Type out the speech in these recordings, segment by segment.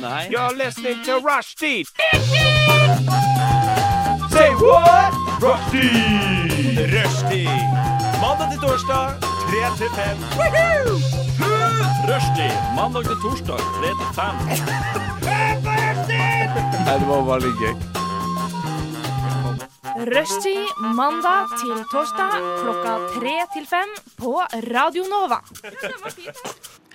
Nei. You're listening to Rushdie. Say what? Rushdie. Rushdie. Mandag til torsdag, 3 til 5. Rushdie mandag til torsdag 3 til 5. det var veldig gøy. Rushtid mandag til torsdag klokka tre til fem på Radio Nova.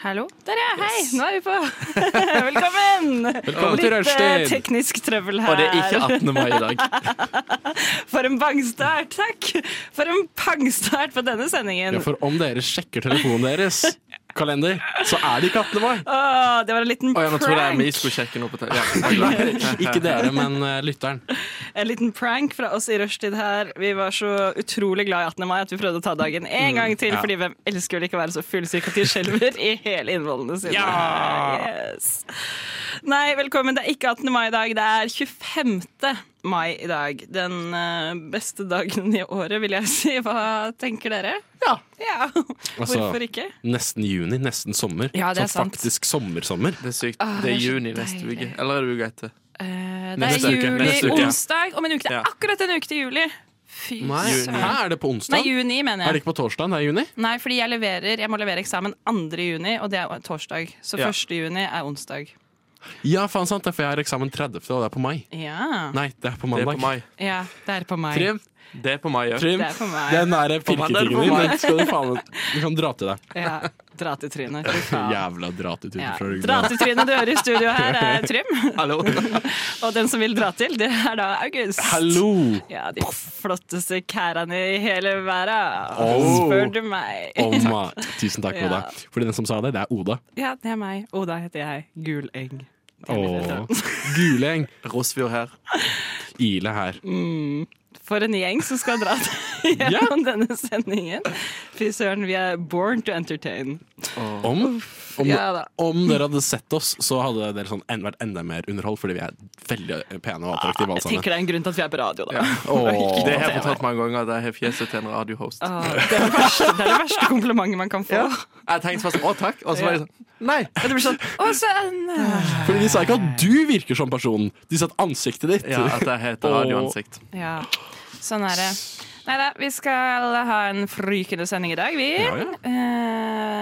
Hallo. Der, ja. Hei, nå er vi på. Velkommen. Velkommen Litt til eh, rushtid! teknisk trøbbel her. Og det er ikke 18. mai i dag. For en bangstart, takk. For en pangstart på denne sendingen. Ja, for om dere sjekker telefonen deres, kalender, så er det ikke 18. mai. Åh, det var en liten Å ja, nå trodde jeg vi prank. skulle sjekke noe på TV. Ja, Ikke dere, men eh, lytteren. En liten prank fra oss i rushtid her. Vi var så utrolig glad i 18. mai at vi prøvde å ta dagen Mm, en gang til, fordi hvem elsker vel ikke å være så fullsyk at de skjelver i hele innvollene sine? Yes. Nei, velkommen. Det er ikke 18. mai i dag, det er 25. mai i dag. Den eh, beste dagen i året, vil jeg si. Hva tenker dere? Ja. Altså, Hvorfor ikke? Nesten juni, nesten sommer. Ja, det er sånn sant. faktisk sommersommer. det er sykt. Det det er er så juni neste deilig. uke. Eller er det uka etter? Eh, det Neste er uke, juli, neste uke. onsdag om en uke. Det Ja. er akkurat en uke til juli. Fy Hæ, søren. er det på Nei, onsdag? juni, mener jeg. Er det ikke på torsdag? Det er juni? Nei, fordi jeg leverer Jeg må levere eksamen 2. juni, og det er torsdag. Så Ja. 1. juni er onsdag. Ja, faen sant, det er for jeg har eksamen 30., og det er på mai. Ja. Nei, det er på Det er på mandag. mai. ja det er på meg. Trym, Det er på mai òg. Trym. Det er på meg. Den nære På mandag er det pirketingen på din, mai. den skal du faen Du kan dra til deg. Ja. Dra til trynet. Fy faen. Jævla dra til turen Ja. fra Dra ryggen. til trynet du hører i studio her, er Trym. Hallo. Og den som vil dra til, det er da August. Hallo! Ja, de flotteste kærene i hele verden, Oh. spør du meg. Oma. eh, Tusen takk, Ja. Oda. Fordi den som sa det, det er Oda. Ja, det er meg. Oda heter jeg. Guleng. Det er mitt etternavn. Åh. Guleng. Rosfjord her. Ile her. For en gjeng som skal dra gjennom denne sendingen. Fy søren, vi er born to entertain. Om, om, Ja da. om dere hadde sett oss, så hadde dere sånn en, vært enda mer underholdt, fordi vi er veldig pene og attraktive Sånn, alle Jeg tenker sammen. det er en grunn til at vi er på radio, da. Åh. Det har jeg fortalt mange ganger at jeg har fjeset til en radiohost. Ah, Det, er det, verste, det er det verste komplimentet man kan få. Jeg tenkte først 'å, takk', og så var jeg sånn Nei! Og Det blir sånn Å, sønn! Fordi de sa ikke at du virker som personen, de sa at ansiktet ditt Ja, at jeg heter Radioansikt. Ja, sånn er det. Nei da, vi skal ha en frykende sending i dag, vi. Ja, ja.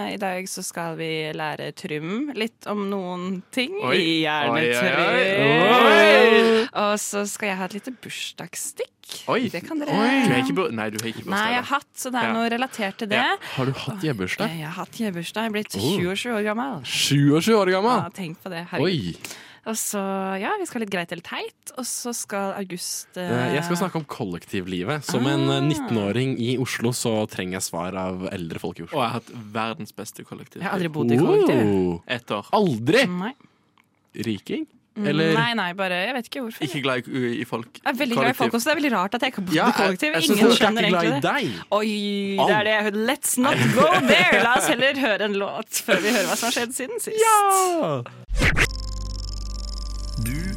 Eh, I dag så skal vi lære Trym litt om noen ting Oi. i Oi, oi, hjernetrym. Og så skal jeg ha et lite bursdagsstikk. Oi. Det kan Du har dere ikke bur- Nei, du har ikke Nei, jeg har bursdag. da. hatt, så det er Ja. noe relatert til det. Ja. Oh. Har du hatt hjemmebursdag? Jeg har hatt hjemmebursdag. Jeg er blitt 27 år gammel. 27 år Ja, gammel! tenk på det. Herregud. Ah. Oi! Og så, ja, vi skal litt greit eller teit, og så skal August eh, Eh, Jeg skal snakke om kollektivlivet. Som en Ah. eh, 19-åring i Oslo så trenger jeg svar av eldre folk i Og Oslo. jeg har hatt verdens beste kollektiv. Jeg har aldri bodd i kollektiv. Oh. Ett år. Aldri! Nei. Riking? Eller nei, nei, bare Jeg vet ikke hvorfor. Ikke glad i, i folk. jeg er veldig glad i folk også. Det er veldig rart at jeg ikke har bodd i kollektiv. jeg, jeg synes Ingen folk er skjønner ikke glad egentlig i det. deg. Oi, det er det jeg hører. Let's not go there! La oss heller høre en låt før vi hører hva som har skjedd siden sist. Du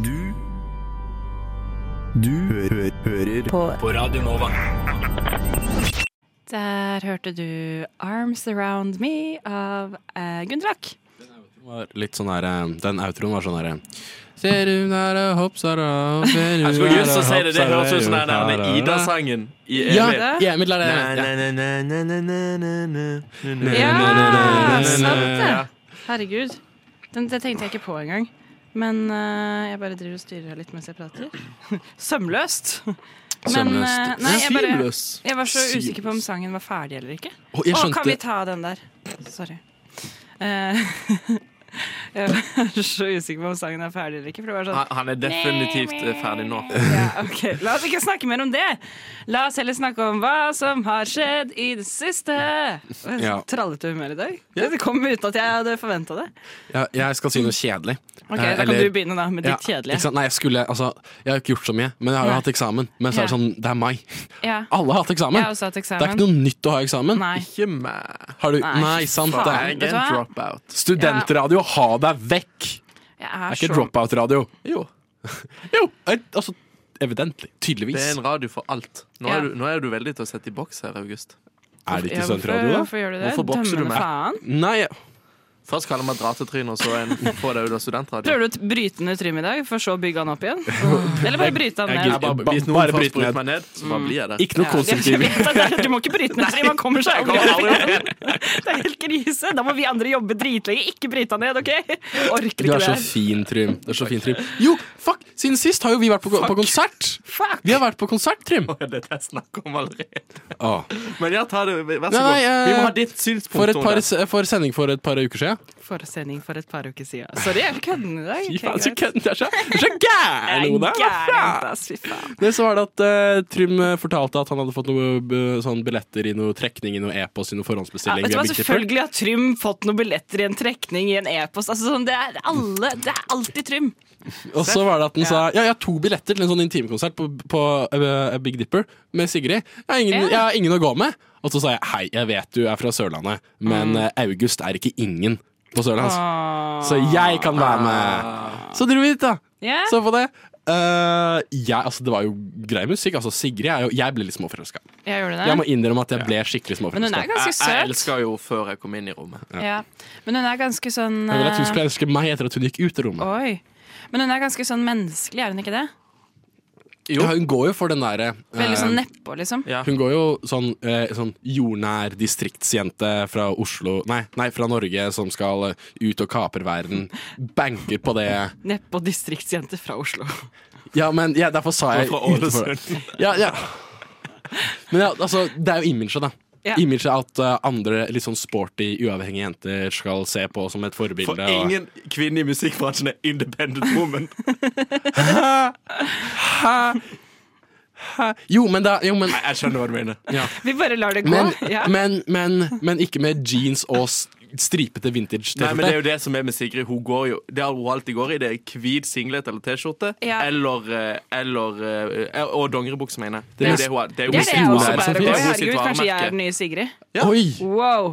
Du Du hø hø hører på. Radio Nova. Der hørte du 'Arms Around Me' av eh, Gunn Drak. var litt sånn her eh, Den outroen var sånn her eh, Ser du der og hopser og ser du Jeg skulle der just og si det, det hopser høres ut som og den der hopser og- Ida-sangen i Ja, Emil. det? ja, Emil er det. Ja. Ja. Ja, sant det. Ja. Herregud. Den, det tenkte jeg ikke på engang. Men eh, jeg bare driver og styrer her litt mens jeg prater. Sømløst. Men, eh, Sømløst. nei, jeg bare- Sømløs. Jeg var så Sømløs. usikker på om sangen var ferdig eller ikke. Å, Å, jeg kan vi skjønte ta den der? Sorry. Eh, jeg var så usikker på om sangen er ferdig eller ikke. For det var sånn Han han er definitivt eh, ferdig nå. ja, ok. La oss ikke snakke mer om det. La oss heller snakke om hva som har skjedd i det siste. Ja. Trallete humør i dag. Det kom uten at jeg hadde forventa det. ja, Jeg skal si noe kjedelig. Ok, Eh, Da kan eller- du begynne da med Ja, ditt ikke kjedelige. sant? Nei, jeg skulle Altså, jeg har ikke gjort så mye, men jeg har jo Nei. hatt eksamen. Men så er det Ja. sånn, det er mai. Ja. Alle har hatt eksamen. Jeg har også hatt Det er eksamen. ikke noe nytt å ha eksamen. Nei. Ikke meg. Har du Nei, Nei, sant faen. det. er- Jeg Vet er du en hva? dropout. Studentradio, ha deg vekk! Jeg Det er, er ikke så, dropout-radio. Jo. Jo, eh, altså Evidentlig. Tydeligvis. Det er en radio for alt. Nå Ja. er, du, nå er du veldig til å sette i boks her, August. Er det Ja, ikke hvorfor, studentradio, da? hvorfor gjør du det? Hvorfor bokser du Dømmende meg? faen. Nei, Først kaller man dra-til-trynet, og så en få deg ut av studentradio. Prøver du å bryte ned trynet i dag, for så å bygge han opp igjen? Eller bare bryte han Jeg ned? gidder- Bare, bryt noen Bare først, bryt bryt ned. meg ned, så Mm. bare blir jeg der. Ikke noe Jeg konstruktivt. vet at det er- Du må ikke bryte ned trynet, man kommer seg aldri kommer aldri opp. Det er helt krise. Da må vi andre jobbe dritlenge. Ikke bryte han ned, OK? Orker ikke Du er så det. fin, Trym. Du er så fin, Trym. Jo, fuck! Siden sist har jo vi vært på, på konsert. Fuck! Vi har vært på konsert, Trym. Det er det jeg snakker om allerede. Åh. Men ja, ta det. Vær Nei, så god. nei, eh, Vi må ha ditt synspunkt. For, et Ah. om par, det. for sending for et par uker siden. Foresending for et par uker siden. Sorry, jeg er kødden i dag. Fy Ok, faen, så greit. kødden. Det er så, det er så gæren, Oda. Jeg er gæren, ass, fy faen. Det så var det at eh, Trym eh, fortalte at han hadde fått noe eh, sånn billetter i noe trekning i noe e-post i noe Ja, forhåndsbestilling. vet du hva, via Big Dipper. selvfølgelig har Trym fått noen billetter i en trekning i en e-post. Altså, sånn, det, er alle, det er alltid Trym. Og så var det at han sa Ja, jeg har to billetter til en sånn intimkonsert på, på eh, Big Dipper med Sigrid. Jeg har, ingen, Ja. jeg har ingen å gå med. Og så sa jeg hei, jeg vet du er fra Sørlandet, men Mm. eh, August er ikke ingen på Sørlands. Ah. Så jeg kan være med. Så dro vi dit, da. Ja. Så på det. Eh, jeg, altså, det var jo grei musikk. Altså, Sigrid er jo Jeg ble litt småforelska. Jeg gjorde det. Jeg må innrømme at jeg ble skikkelig Men hun er småforelska. ganske Jeg, jeg søt. elsker jo før jeg kom inn i rommet. Ja. Men hun er ganske sånn Jeg vil at hun eh, skulle elske meg etter at hun gikk ut av rommet. Oi. Men hun er ganske sånn menneskelig, er hun ikke det? Ja, hun går jo for den derre Veldig eh, sånn nedpå, liksom. Ja. Hun går jo sånn, eh, sånn jordnær distriktsjente fra Oslo Nei, nei fra Norge som skal eh, ut og kaper verden. Banker på det. Nedpå distriktsjente fra Oslo. Ja, men ja, derfor sa jeg Fra utenfor. Ålesund. Ja, ja. Men ja, altså, det er jo imaget, da. Ja. Imaget at eh, andre litt sånn sporty, uavhengige jenter skal se på som et forbilde. For ingen kvinne i musikkbransjen er independent woman. og, jo, men da, jo, men, Jeg skjønner hva du mener. Vi bare lar det gå. men, ja. men, men, men ikke med jeans og s- stripete Nei, men Det er vintage-T-skjorte. jo det som er med Sigrid. Hun går jo, det hun alltid går i, det er hvit singlet eller T-skjorte. Ja. Eller, eh, eller eh, Og dongeribukse, mener jeg. Det er jo det hun har. Det er jo det mest er det jeg også ulære som bærer på. finnes. Herregud, kanskje jeg er den nye Sigrid. Ja. Oi! Wow.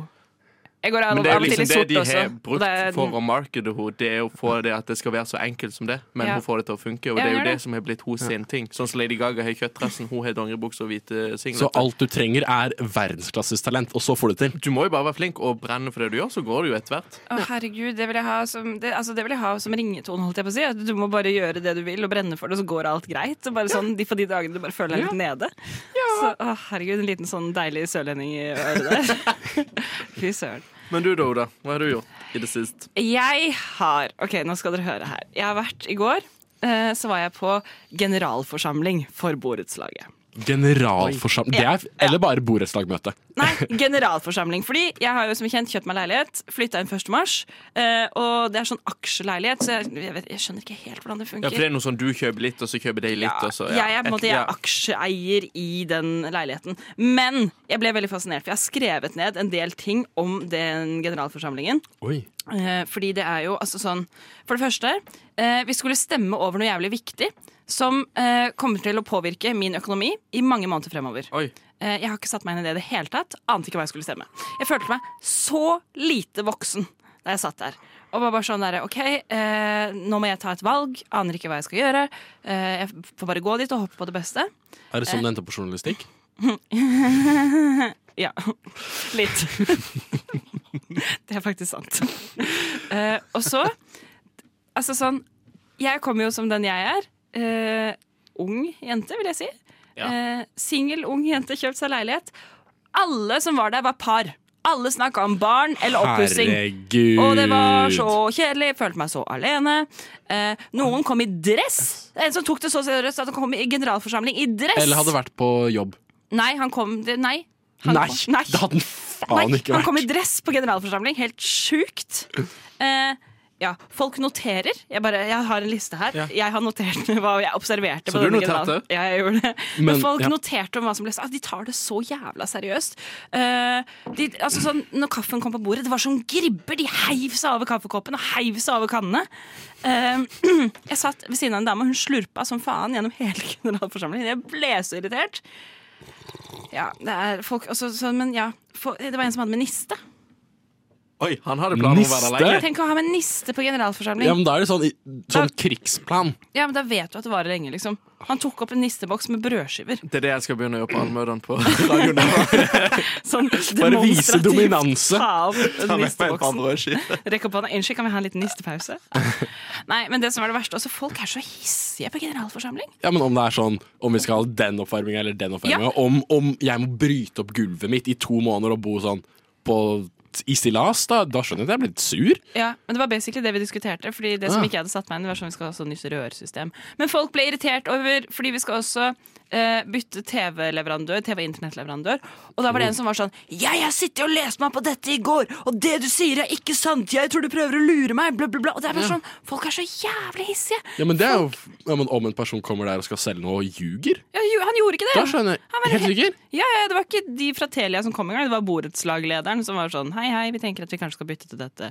Jeg går av, Men det er av jo og til liksom i det sort de også. har Og brukt det er- for å markede henne. Det er å få det at det skal være så enkelt som det, men Ja. hun får det til å funke. Ja, Og det er gjør jo det det. som har blitt hennes sin ting. Sånn som Lady Gaga har kjøttdressen, hun har dongeribukse og Så hvite singlet. alt du trenger, er verdensklasses talent, og så får du det til. Du må jo bare være flink og brenne for det du gjør, så går det jo etter hvert. Å, herregud, det vil, jeg ha som, det, altså, det vil jeg ha som ringetone, holdt jeg på å si. At du må bare gjøre det du vil og brenne for det, og så går alt greit. Og bare sånn, de på de dagene du bare føler deg litt nede. Så, å, herregud, en liten sånn deilig sørlending i øret der. Fy søren. Men du da, Oda. Hva har du gjort i det siste? Jeg har Ok, nå skal dere høre her. Jeg har vært i går. eh, Så var jeg på generalforsamling for borettslaget. Generalforsamling. Det er, eller bare borettslagmøte. Nei, generalforsamling. Fordi jeg har jo som kjent kjøpt meg leilighet. Flytta inn 1. mars. eh, Og det er sånn aksjeleilighet, så jeg, jeg, vet, jeg skjønner ikke helt hvordan det Ja, funker. for det er noe sånn du kjøper litt, og så kjøper de litt, og så Jeg er på en måte jeg er aksjeeier i den leiligheten. Men jeg ble veldig fascinert, for jeg har skrevet ned en del ting om den generalforsamlingen. Oi. Eh, fordi det er jo altså sånn For det første, eh, vi skulle stemme over noe jævlig viktig som eh, kommer til å påvirke min økonomi i mange måneder fremover. Oi. Eh, jeg har ikke satt meg inn i det i det hele tatt. Ante ikke hva jeg skulle stemme. Jeg følte meg så lite voksen da jeg satt der. Og var bare sånn der, OK, eh, nå må jeg ta et valg. Aner ikke hva jeg skal gjøre. Eh, jeg får bare gå dit og håpe på det beste. Er det Eh. sånn det endte på journalistikk? Ja, litt. det er faktisk sant. Eh, og så Altså sånn Jeg kommer jo som den jeg er. eh, ung jente, vil jeg si. Ja. Eh, Singel ung jente, kjøpt seg leilighet. Alle som var der, var par. Alle snakka om barn eller oppussing. Herregud. Og det var så kjedelig. Følte meg så alene. Eh, noen kom i dress. En som tok det så seriøst at han kom i generalforsamling i dress. Eller hadde vært på jobb. Nei, han kom Nei. Han Nei, kom- nei. det hadde den faen Nei, ikke Han kom i vært. dress på generalforsamling. Helt sjukt. Eh, ja, folk noterer. Jeg, bare, jeg har en liste her. Jeg har notert hva jeg observerte. Så på du denne noterte? generalen. Ja, jeg gjorde det. Men, Men, folk ja. noterte om hva som ble sagt. Ah, De tar det så jævla seriøst. Eh, de, altså sånn, når kaffen kom på bordet, det var som gribber. De heiv seg over kaffekoppen og heiv seg over kannene. Eh, jeg satt ved siden av en dame, og hun slurpa som faen gjennom hele generalforsamlingen. Jeg ble så irritert. altså, Ja, det er folk også, så, Men ja, for, det var en som hadde med niste. Oi, han hadde planer om å være Niste? alene. Tenk å ha med niste på generalforsamling. Ja, men da er det sånn, sånn krigsplan. Da vet du at det varer lenge, liksom. Han tok opp en nisteboks med brødskiver. Det er det jeg skal begynne å gjøre på allmøtene på Radio Nova. Sånn Bare vise demonstrativt dominanse. ta opp nisteboksen. Nisteboksen. Rekk opp hånda. Unnskyld, kan vi ha en liten nistepause? Nei, men det som er det verste, altså folk er så hissige på generalforsamling. Ja, men Om det er sånn Om vi skal ha den oppvarminga eller den oppvarminga. Om, om jeg må bryte opp gulvet mitt i to måneder og bo sånn på, i stillas, da, da skjønner jeg at jeg blir litt sur. Ja, men Det var basically det vi diskuterte. Fordi Det som Ja. ikke jeg hadde satt meg inn i, var sånn vi skal ha sånn nytt rørsystem. Men folk ble irritert over fordi vi skal også eh, bytte TV-leverandør. TV- og internettleverandør Og da var det en som var sånn Jeg har sittet og lest meg på dette i går, og det du sier er ikke sant! Jeg tror du prøver å lure meg! Bla, bla, bla. Og det er bare sånn, Folk er så jævlig hissige! Ja, men det er jo ja, men Om en person kommer der og skal selge noe og ljuger, Ja, jo, han gjorde ikke det! da skjønner Han jeg. var Helt he- sikker. Ja, ja, Det var ikke de fra Telia som kom engang. Det var borettslaglederen som var sånn Hei, hei, vi tenker at vi kanskje skal bytte til dette.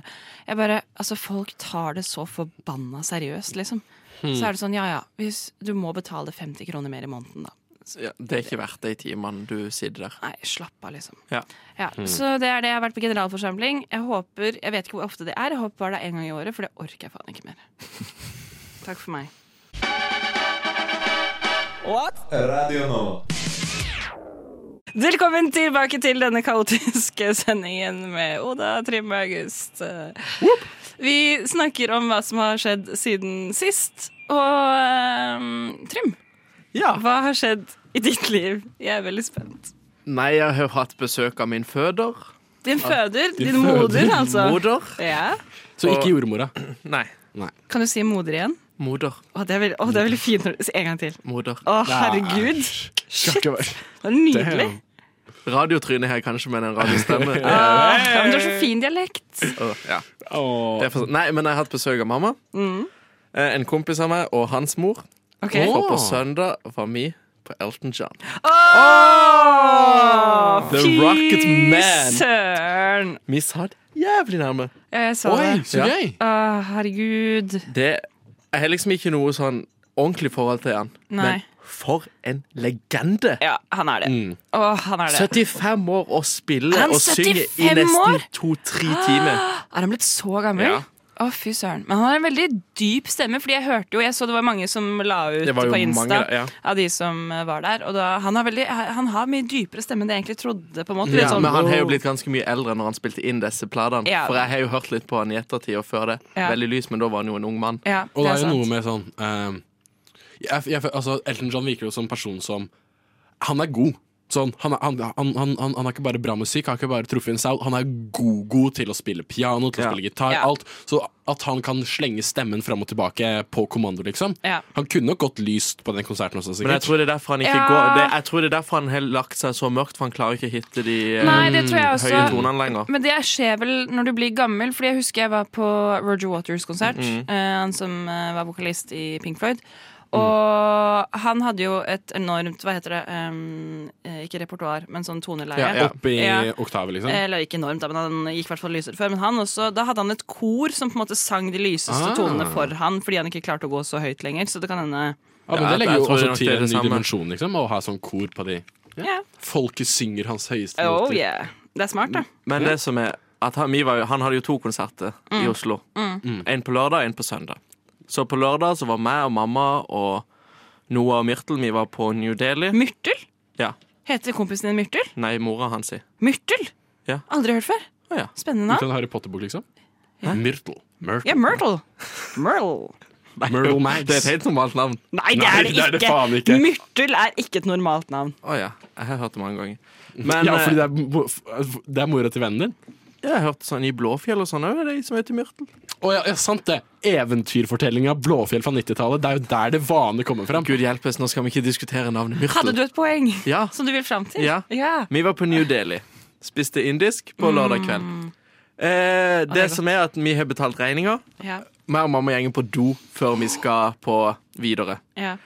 Jeg bare, altså Folk tar det så forbanna seriøst, liksom. Så er det sånn, ja ja, hvis du må betale 50 kroner mer i måneden, da. Ja, det er ikke verdt de timene du sitter der. Nei, slapp av, liksom. Ja. Ja, Så det er det. Jeg har vært på generalforsamling. Jeg håper, jeg vet ikke hvor ofte det er, jeg håper bare det er en gang i året, for det orker jeg faen ikke mer. Takk for meg. Radio Nova. Velkommen tilbake til denne kaotiske sendingen med Oda Trim August. Vi snakker om hva som har skjedd siden sist. Og ehm, Trym, Ja. hva har skjedd i ditt liv? Jeg er veldig spent. Nei, jeg har hatt besøk av min føder. Din føder, din, føder. moder, altså. Moder. Ja. Så ikke jordmora. Nei. Kan du si moder igjen? Moder. Å, det er veldig, å, det er veldig fint. når du- En gang til. Moder. Å, herregud. Shit, det var nydelig. Radiotryne her, kanskje, med den radiostemme. Det Å, er- ja, men du har så fin dialekt. Åh, ja. Åh. det er for... Nei, men jeg har hatt besøk av mamma. Mm. Eh, En kompis av meg og hans mor. Ok. Og på søndag var vi på Elton John. The Fy Rocket Man. Søren. Vi satt jævlig nærme. Ja, jeg sa Oi, det. så Ja. gøy! Å, herregud. Det Jeg har liksom ikke noe sånn ordentlig forhold til han. Nei. Men for en legende! Ja, han er det. Mm. Å, han er det. 75 år og spiller Er han og synger i 75 år? nesten to-tre timer. Er han blitt så gammel? Ja. Å, fy søren. Men han har en veldig dyp stemme, fordi jeg hørte jo Jeg så det var mange som la ut Det var jo på Insta mange der, ja. av de som eh, var der. Og da, han, har veldig, eh, han har mye dypere stemme enn jeg egentlig trodde, på en måte. Litt Ja, sånn, men han har jo blitt ganske mye eldre når han spilte inn disse platene. Ja. For jeg har jo hørt litt på han i ettertid og før det. Ja. Veldig lys, men da var han jo en ung mann. Ja, Og det er jo sant. noe med sånn ehm, jeg, jeg, altså, Elton John virker jo som en person som Han er god. Sånn, han, er- han, han, han, han, han er ikke bare bra musikk, han har ikke bare truffet en sound. Han er god, god til å spille piano, til å Ja. spille gitar, Ja. alt. Så at han kan slenge stemmen fram og tilbake på kommando, liksom. Ja. Han kunne nok gått lyst på den konserten også, Men jeg sikkert. tror det er derfor han ikke Ja. går det, Jeg tror det er derfor han har lagt seg så mørkt, for han klarer ikke å hitte de eh, Nei, det altså- tror jeg også. høye tonene lenger. Men det skjer vel når du blir gammel, Fordi jeg husker jeg var på Roger Waters-konsert. eh, han som eh, var vokalist i Pink Floyd. Og han hadde jo et enormt Hva heter det? em, eh, ikke repertoar, men sånn toneleie. Ja, Ja. Opp i Ja. Eh, oktaver, liksom. Eller ikke enormt, da, men han gikk i hvert fall lysere før. Men han også, da hadde han et kor som på en måte sang de lyseste Ah. tonene for han, fordi han ikke klarte å gå så høyt lenger. Så det kan hende Ja, men Ja, det legger jeg jo tror det også nok til det er en det ny samme. dimensjon, liksom, å ha sånn kor på de Ja. Folket synger hans høyeste Oh noter. yeah. Det er smart, da. Men det som er at han, vi var jo, han hadde jo to konserter Mm. i Oslo. En på lørdag og en på søndag. Så på lørdag så var meg og mamma og Noah og Myrtle Vi var på New Delhi. Myrtel? Ja. Heter kompisen din Myrtel? Nei, mora hans si. Myrtel? Ja. Aldri hørt før. Å ja. Spennende Til navn. en Harry Potter-bok, liksom. Myrtle. Myrtle. Ja, Myrtle. Myrtle. Myrtle Max. Det er et helt normalt navn. Nei, det er det Nei, ikke. det er det faen ikke. Myrtel er ikke et normalt navn. Å ja. Jeg har hørt det mange ganger. Men Ja, eh, fordi det er, mo- det er mora til vennen din. jeg har hørt sånn i Blåfjell og sånn òg, de som heter Myrtel. Å ja, ja, sant det. Eventyrfortellinga Blåfjell fra 90-tallet. Det er jo der det vanlige kommer fram. Gud hjelpes, nå skal vi ikke diskutere navnet Myrtel. Hadde du et poeng Ja. som du vil fram til? Ja. Vi var på New Delhi. Spiste indisk på lørdag kveld. Eh, det, Mm. det er som er at vi har betalt regninger. Ja. Meg og mamma gjenger på do før vi skal på videre. Ja.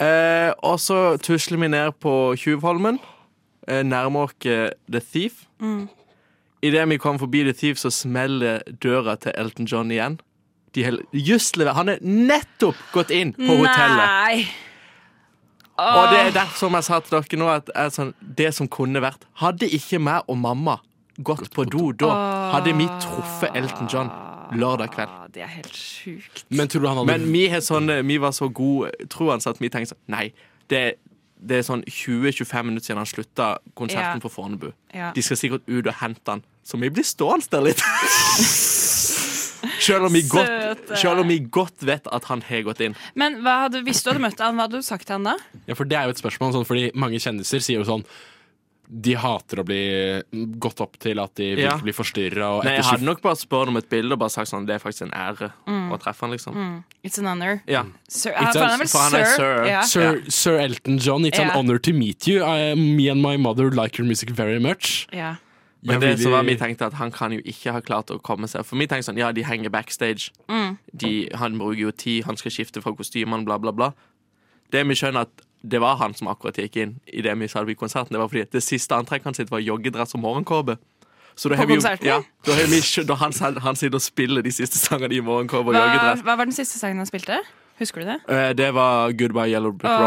Eh, og så tusler vi ned på Tjuvholmen. Eh, nærmer oss eh, The Thief. Idet vi kommer forbi The Thief, så smeller døra til Elton John igjen. De hel- just lever. Han er nettopp gått inn på hotellet. Nei! Og det er der, som jeg sa til dere nå, at er sånn, det som kunne vært Hadde ikke meg og mamma gått på do da, hadde vi truffet Elton John lørdag kveld. Ah, Det er helt sjukt. Men tror du han hadde Men vi, har sånn, vi var så gode troende at vi tenkte sånn Nei, det, det er sånn 20-25 minutter siden han slutta konserten Ja. på Fornebu. Ja. De skal sikkert ut og hente han, så vi blir stående der litt. Selv om, vi godt, Søte. selv om vi godt vet at han har gått inn. Men hva hadde, hvis du hadde møtt han, hva hadde du sagt til han da? Ja, for det er jo et spørsmål, sånn, fordi mange kjendiser sier jo sånn de hater å bli gått opp til at de vil Ja. ikke bli forstyrra. Nei, Jeg hadde nok bare spurt om et bilde og bare sagt sånn Det er faktisk en ære Mm. å treffe han, liksom. It's an honor. Ja. Sir, It's for a- han er vel for han er sir. sir. Ja. Sir, Sir Elton John, it's an Ja. honor to meet you. I, me and my mother like your music very much. Ja. Jeg Men det vil- som var vi tenkte at han kan jo ikke ha klart å komme seg For vi tenkte sånn, ja, de henger backstage Mm. de, Han bruker jo tid, han skal skifte fra kostymen, bla bla bla Det vi skjønner at det var han som akkurat gikk inn I det vi sa det på konserten Det var fordi det siste antrekket han sitt var joggedress og morgenkåbe Så da På har vi jo- konserten? Ja, da har vi skjø- da han, selv- han sitter og spiller de siste sangene i morgenkåbe og Hva, joggedress hva var den siste sangen han spilte? Husker du det? Eh, Det var Goodbye Yellow Brick Road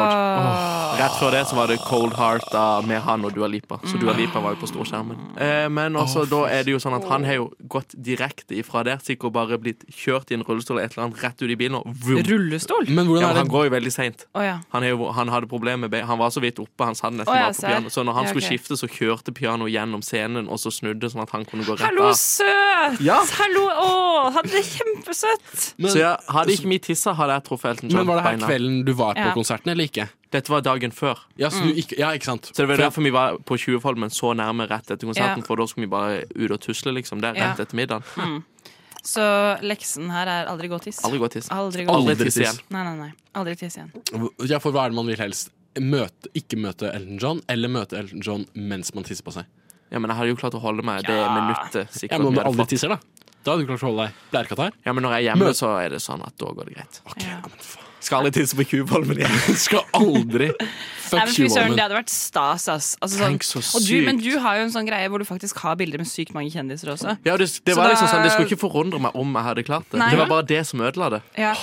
Rett før det så var det Cold Heart da, med han og Dua Lipa. Så Dua Lipa var jo på storskjermen. Eh, men også, da er det jo sånn at han har jo gått direkte ifra der. Sikkert bare blitt kjørt i en rullestol eller et eller annet rett ut i bilen. Og vroom. Rullestol? Men hvordan ja, men er han det går jo veldig seint. Å ja. Han, er jo- han hadde problemer med be- Han var så vidt oppe, han satt nesten Å, ja, bare på ser. piano. Så når han Ja, skulle ok. skifte, så kjørte pianoet gjennom scenen, og så snudde sånn at han kunne gå rett Hallo, av. søt! Ja. Hallo, å, han er kjempesøtt! men, Så ja, hadde ikke vi tissa, hadde jeg truffet Elton men John. var det her beina. kvelden du var på Ja. konserten, eller ikke? Dette var dagen før. Ja, så du Mm. ikke, ja, ikke sant? Så det var For- derfor vi var på Tjuvholmen så nærme rett etter konserten, Ja. for da skulle vi bare ut og tusle, liksom, der Ja. rett etter middagen. Så leksen her er aldri gå og tisse. Aldri gå og tisse. Aldri gå Aldri og tisse igjen. Nei, nei, nei. Aldri tisse igjen. Ja, for hva er det man vil helst? Møte, ikke møte Elton John, eller møte Elton John mens man tisser på seg? Ja, men jeg hadde jo klart å holde meg det minuttet. sikkert Ja, men om vi du hadde aldri fått. tisser, da? Da hadde du klart å holde deg blærekatt her. Ja, men når jeg er hjemme, Møt- så er det sånn at da går det greit. Ja. Skal aldri tisse på Tjuvholmen igjen. Skal aldri Nei, fuck men fy søren, you, det woman. hadde vært stas, ass. Altså, sånn, Tenk så og du, men sykt. du har jo en sånn greie hvor du faktisk har bilder med sykt mange kjendiser også. Ja, det, det Så var da- liksom sånn, det skulle ikke forundre meg om jeg hadde klart det. Nei. Det var bare det som ødela det. Ja.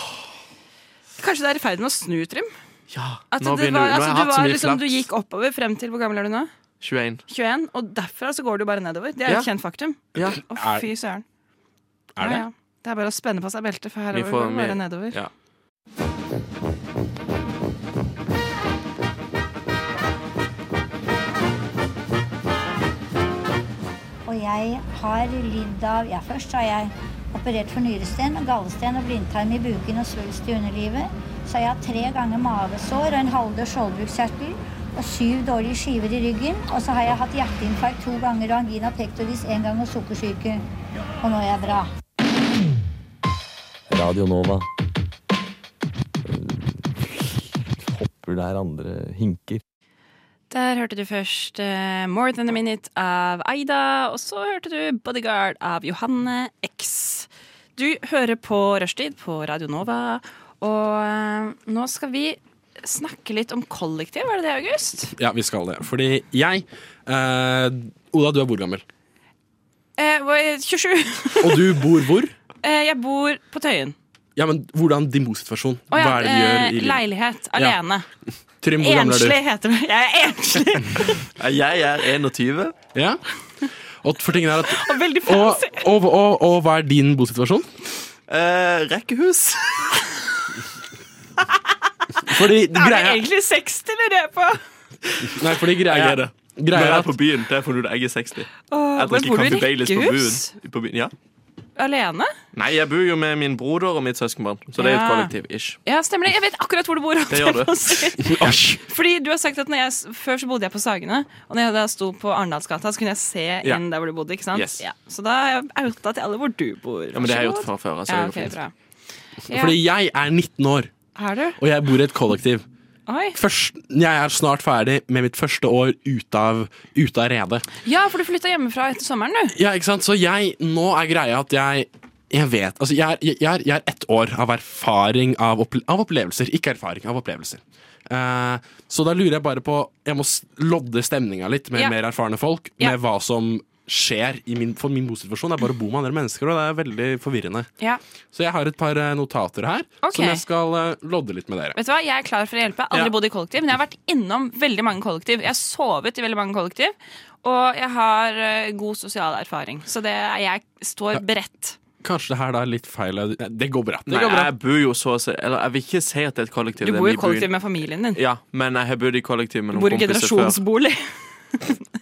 Kanskje det er i ferd med å snu, Trym? Ja, At nå det begynner var, vi- nå altså, har du, jeg hatt så var, mye liksom, du flaps. gikk oppover frem til Hvor gammel er du nå? 21. 21. Og derfra så går du bare nedover. Det er et Ja. kjent faktum. Ja. Å, Er- fy søren. Er Ja, det? ja. Det er bare å spenne på seg beltet, for Vi herover får- går det bare vi- nedover. Ja. Og jeg har lidd av Ja, først har jeg operert for nyresten, gallesten og blindtarm i buken og svulst i underlivet. Så har jeg hatt tre ganger mavesår og en halvdød skjoldbruskkjertel og syv dårlige skiver i ryggen. Og så har jeg hatt hjerteinfarkt to ganger og angina pectoris én gang og sukkersyke. Og nå er jeg bra. Radio Nova. Eh, Hopper der andre hinker. Der hørte du først eh, More Than A Minute av Aida, og så hørte du Bodyguard av Johanne X. Du hører på Rushtid på Radio Nova, og eh, nå skal vi snakke litt om kollektiv, var det det, August? Ja, vi skal det. Fordi jeg eh, Oda, du er hvor gammel? Eh, hvor- 27. Og du bor hvor? Eh, jeg bor på Tøyen. Ja, men Hvordan din bosituasjon? Å ja, Hva er det du gjør eh, i livet? Leilighet. Alene. Trym, hvor gammel er Enslig du? heter det. Jeg er enslig Jeg er 21. Ja. Og for tingen er at og veldig og, fancy. og, og, og hva er din bosituasjon? Eh, rekkehus. Fordi Er det greia, egentlig 60 eller er jeg på? nei, fordi greia, Jeg er det. greia er at byen, det er fordi du eier 60. Åh, Jeg men drikker bor du Campi i Baileys på rekkehus? byen. På byen. Ja. Alene? Nei, jeg bor jo med min broder og mitt søskenbarn, så det er jo et Ja. kollektiv-ish. Ja, stemmer det. Jeg vet akkurat hvor du bor. Det gjør du. Asj. Fordi du har sagt at når jeg, s- Før så bodde jeg på Sagene, og når jeg da sto på Arendalsgata, så kunne jeg se Ja. inn der hvor du bodde. ikke sant? Yes. Ja. Så da har jeg outa til alle hvor du bor. Ja, men det har jeg gjort fra før. Altså, Ja, det ok, går fint. bra. Fordi jeg er 19 år, Er du? og jeg bor i et kollektiv. Oi. Først, jeg er snart ferdig med mitt første år ute av, ut av redet. Ja, for du flytta hjemmefra etter sommeren, du. Ja, ikke sant? Så jeg, nå er greia at jeg jeg vet, altså jeg er, jeg, er, jeg er ett år av erfaring av, opple av opplevelser. Ikke erfaring, av opplevelser. Eh, så da lurer jeg bare på Jeg må s- lodde stemninga litt med Ja. mer erfarne folk. Ja. Med hva som skjer i min, for min bosituasjon. Det er bare å bo med andre mennesker, og det er veldig forvirrende. Ja. Så jeg har et par eh, notater her Ok. som jeg skal eh, lodde litt med dere. Vet du hva, Jeg er klar for å hjelpe. Jeg har Aldri Ja. bodd i kollektiv, men jeg har vært innom veldig mange kollektiv. Jeg har sovet i veldig mange kollektiv, og jeg har eh, god sosial erfaring. Så det er, jeg står beredt. Kanskje det her da er litt feil Nei, Det går bra. Det Nei, går bra. jeg bor jo så å si Eller jeg vil ikke si at det er et Du kollektiv. det er bor i mye kollektiv byen. med familien din. Ja, men jeg har bodd i kollektiv med Du noen bor i kompiser før. generasjonsbolig.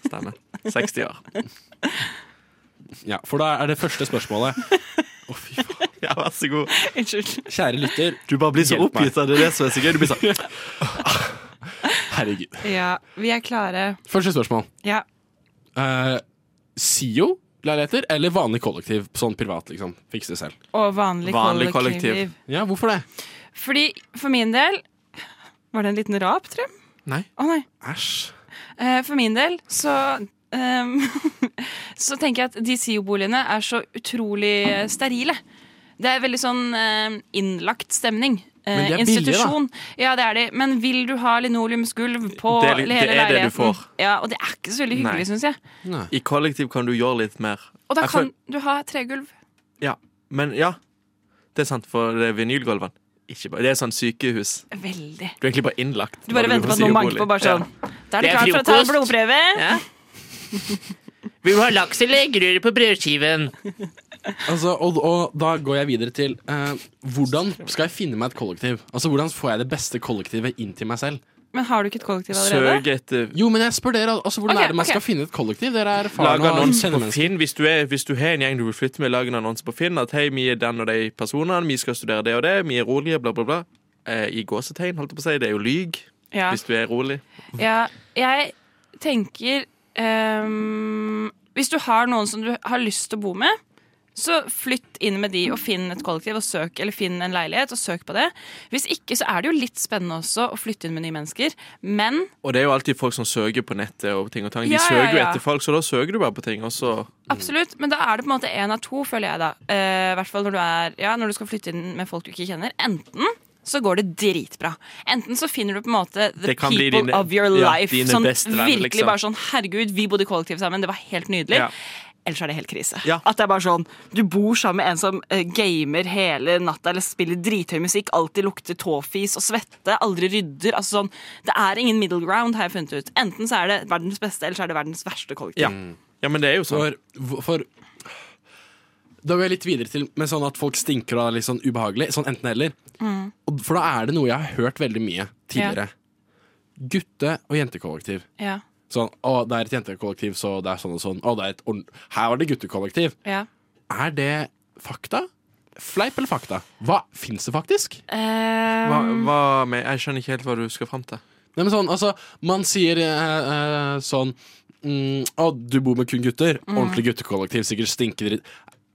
Stemmer. 60 år. eh, Ja, for da er det første spørsmålet. Å, fy faen. Ja, vær så god. Unnskyld. Kjære lytter, Du bare blir så Hjelp meg. oppgitt av det, det som er så gøy. Du blir sånn herregud. Ja, vi er klare. Første spørsmål. Ja. Eh, SIO-leiligheter eller vanlig kollektiv? Sånn privat, liksom. Fikse det selv. Og vanlig, Vanlig kollektiv. kollektiv. Ja, hvorfor det? Fordi for min del Var det en liten rap, tror jeg? Nei. Å nei. Æsj. Eh, For min del så ehm, Så tenker jeg at de SIO-boligene er så utrolig eh, sterile. Det er veldig sånn eh, innlagt stemning. Eh, Men de er billige, da. Institusjon. Ja, det er de. Men vil du ha linoleumsgulv på Det er li- hele det er det du leiligheten? får. Ja, og det er ikke så veldig hyggelig, syns jeg. I kollektiv kan du gjøre litt mer. Og da Jeg kan føl- du ha tregulv. Ja. Men ja, det er sant, for det er vinylgulven. Ikke bare, det er sånn sykehus. Veldig. Du er egentlig bare innlagt. Du bare venter på at noen banker på, bare sånn. Da er du Det er klar for å ta en frokost. blodprøve. Vil du ha laks eller grøt på brødskiven? Altså, og, og da går jeg videre til eh, hvordan skal jeg finne meg et kollektiv? Altså, Hvordan får jeg det beste kollektivet inn til meg selv? Men har du ikke et kollektiv allerede? Søk etter Jo, men jeg spør dere, altså, hvordan Ok, er det man ok. skal finne et kollektiv? Dere er Lag erfarne og annonser kjenner på mennesker. Finn. Hvis du, er, hvis du har en gjeng du vil flytte med, lag en annonse på Finn at hei, vi er den og de personene, vi skal studere det og det, vi er rolige, bla, bla, bla. Eh, I gåsetegn, holdt jeg på å si. Det er jo lyg Ja. hvis du er rolig. Ja, jeg tenker ehm, Hvis du har noen som du har lyst til å bo med, så flytt inn med de og finn et kollektiv og søk, eller finn en leilighet og søk på det. Hvis ikke, så er det jo litt spennende også å flytte inn med nye mennesker. Men Og det er jo alltid folk som søker på nettet og ting og tang. De Ja, ja, søker jo ja. etter folk, så da søker du bare på ting, og så absolutt, men da er det på en måte én av to, føler jeg da. Eh, I hvert fall når du, er, ja, når du skal flytte inn med folk du ikke kjenner. Enten så går det dritbra. Enten så finner du på en måte the Det kan people bli dine- of your ja, life. dine sånn beste venner, virkelig liksom. bare sånn Herregud, vi bodde i kollektiv sammen, det var helt nydelig. Ja. Ellers er det helt krise. Ja. At det er bare sånn, Du bor sammen med en som eh, gamer hele natta eller spiller drithøy musikk, alltid lukter tåfis og svette, aldri rydder. altså sånn, Det er ingen middle ground, har jeg funnet ut. Enten så er det verdens beste, eller så er det verdens verste kollektiv. Ja. Ja, men det er jo sånn. For, for Da går jeg litt videre til med sånn at folk stinker og er litt sånn ubehagelig. Sånn enten-eller. For da er det noe jeg har hørt veldig mye tidligere. Gutte- og jentekollektiv. Ja, Sånn, å, det er et jentekollektiv, så det er sånn og sånn. Å, det er et ordn- Her var det guttekollektiv. ja. Er det fakta? Fleip eller fakta? Hva Fins det faktisk? Eh, Hva, Mm. hva med, jeg skjønner ikke helt hva du skal fram til. Nei, men sånn, altså, man sier eh, eh, sånn mm, Å, du bor med kun gutter. Mm. Ordentlig guttekollektiv, sikkert stinker dritt.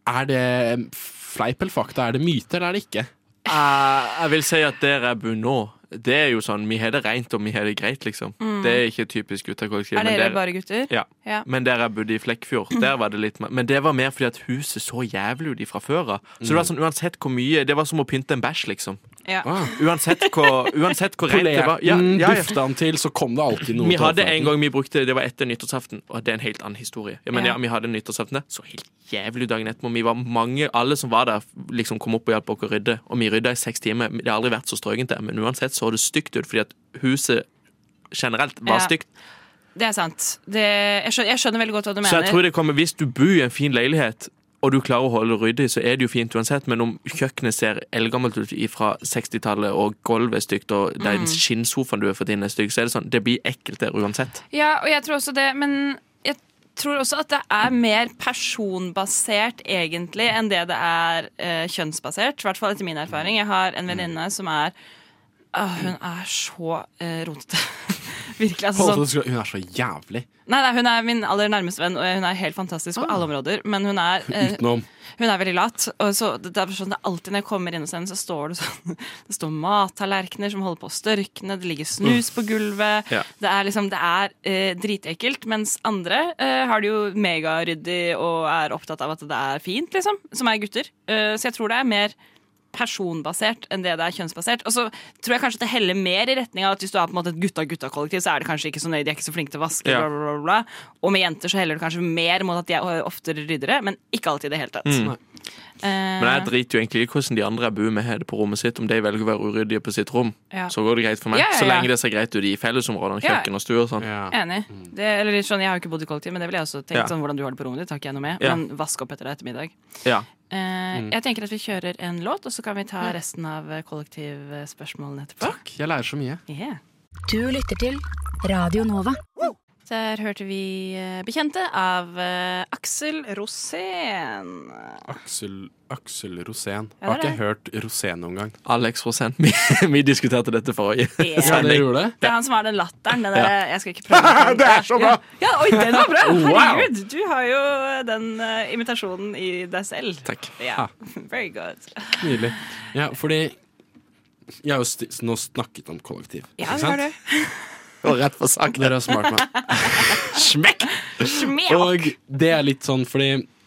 Er det fleip eller fakta? Er det myte, eller er det ikke? Eh, jeg vil si at der jeg bor nå, det er jo sånn Vi har det rent, og vi har det greit, liksom. Det er ikke typisk guttekollektiv. Mm. Er men dere der- bare gutter? Ja. Ja. Men der jeg bodde i Flekkfjord, der var det litt mer. Men det var mer fordi at huset så jævlig ut ifra før av. Så det var sånn uansett hvor mye Det var som å pynte en bæsj, liksom. Ja. Uansett hvor, uansett hvor rent det var. Ja, Polerten ja, ja. dufta Mm, han til, så kom det alltid noe Vi til hadde overflaten. en gang vi brukte Det var etter nyttårsaften, og det er en helt annen historie. Ja, men Ja. ja, vi hadde nyttårsaften der, så helt jævlig dagen etterpå. Vi var mange, alle som var der, liksom kom opp og hjalp oss å rydde. Og vi rydda i seks timer. Det har aldri vært så strøkent der, men uansett så det stygt ut fordi at huset generelt var Ja. stygt. Det er sant. Det, jeg, skjønner, jeg skjønner veldig godt hva du Så jeg mener. tror det kommer, hvis du bor i en fin leilighet, og du klarer å holde det ryddig, så er det jo fint uansett, men om kjøkkenet ser eldgammelt ut fra 60-tallet, og gulvet er stygt, og den Mm. skinnsofaen du har fått inn er stygg, så er det sånn, det blir ekkelt der uansett. Ja, og jeg tror også det, men jeg tror også at det er mer personbasert egentlig enn det det er eh, kjønnsbasert. I hvert fall etter min erfaring. Jeg har en venninne som er Åh, Hun er så eh, rotete. Virkelig. Altså, Holdt sånn, på å skulle- Hun er så jævlig. nei, nei, hun er min aller nærmeste venn, og hun er helt fantastisk på alle områder. Men hun er, eh, Utenom. hun er veldig lat. Og så, det er sånn, det er alltid når jeg kommer inn hos henne, så står det sånn Det står mattallerkener som holder på å størkne, det ligger snus på gulvet. Ja. Det er liksom Det er eh, dritekkelt. Mens andre eh, har det jo megaryddig og er opptatt av at det er fint, liksom. Som er gutter. Eh, så jeg tror det er mer personbasert enn det det er kjønnsbasert. Og så tror jeg kanskje det heller mer i retning av at hvis du er på en måte et gutta-gutta-kollektiv, så er det kanskje ikke så nøye, de er ikke så flinke til å vaske, bla, Ja. bla, bla, bla. Og med jenter så heller du kanskje mer mot at de er oftere ryddere, men ikke alltid i det hele tatt. Mm. Nei. Eh, Men jeg driter jo egentlig i hvordan de andre jeg bor med, har det på rommet sitt. Om de velger å være uryddige på sitt rom, Eh, Ja. så går det greit for meg. Ja, ja, Så ja. lenge det ser greit ut i fellesområdene, Ja. kjøkken og stue og sånn. Enig. Det, eller litt sånn, jeg har jo ikke bodd i kollektiv, men det ville jeg også tenkt. Ja. Sånn, hvordan du har det på rommet ditt, har ikke jeg noe med. Ja. Men vask opp etter deg etter middag. Ja. Eh, Mm. Jeg tenker at vi kjører en låt, og så kan vi ta resten av eh, kollektivspørsmålene etterpå. Takk, jeg lærer så mye. Yeah. Du lytter til Radio Nova. Der hørte vi eh, Bekjente av eh, Aksel Rosén. Aksel, Aksel Rosén. Ja, det er Har ikke det. hørt Rosén noen gang. Alex Rosén. Vi, vi diskuterte dette forrige Ja. Ja, dere gjorde det? Det er han som har den latteren. Den Ja. der, eh, Jeg skal ikke prøve Det er så bra! Ja, ja Oi, den var bra! Oh, Wow. Herregud, du har jo eh, den eh, imitasjonen i deg selv. Takk. Ja, Very good. Ah, Nydelig. Ja, fordi jeg har jo sti- nå snakket om kollektiv. Ja, ikke vi har sant? det. Og rett for sak. Dere har smart meg. Smekk! Smekk! Og det er litt sånn, fordi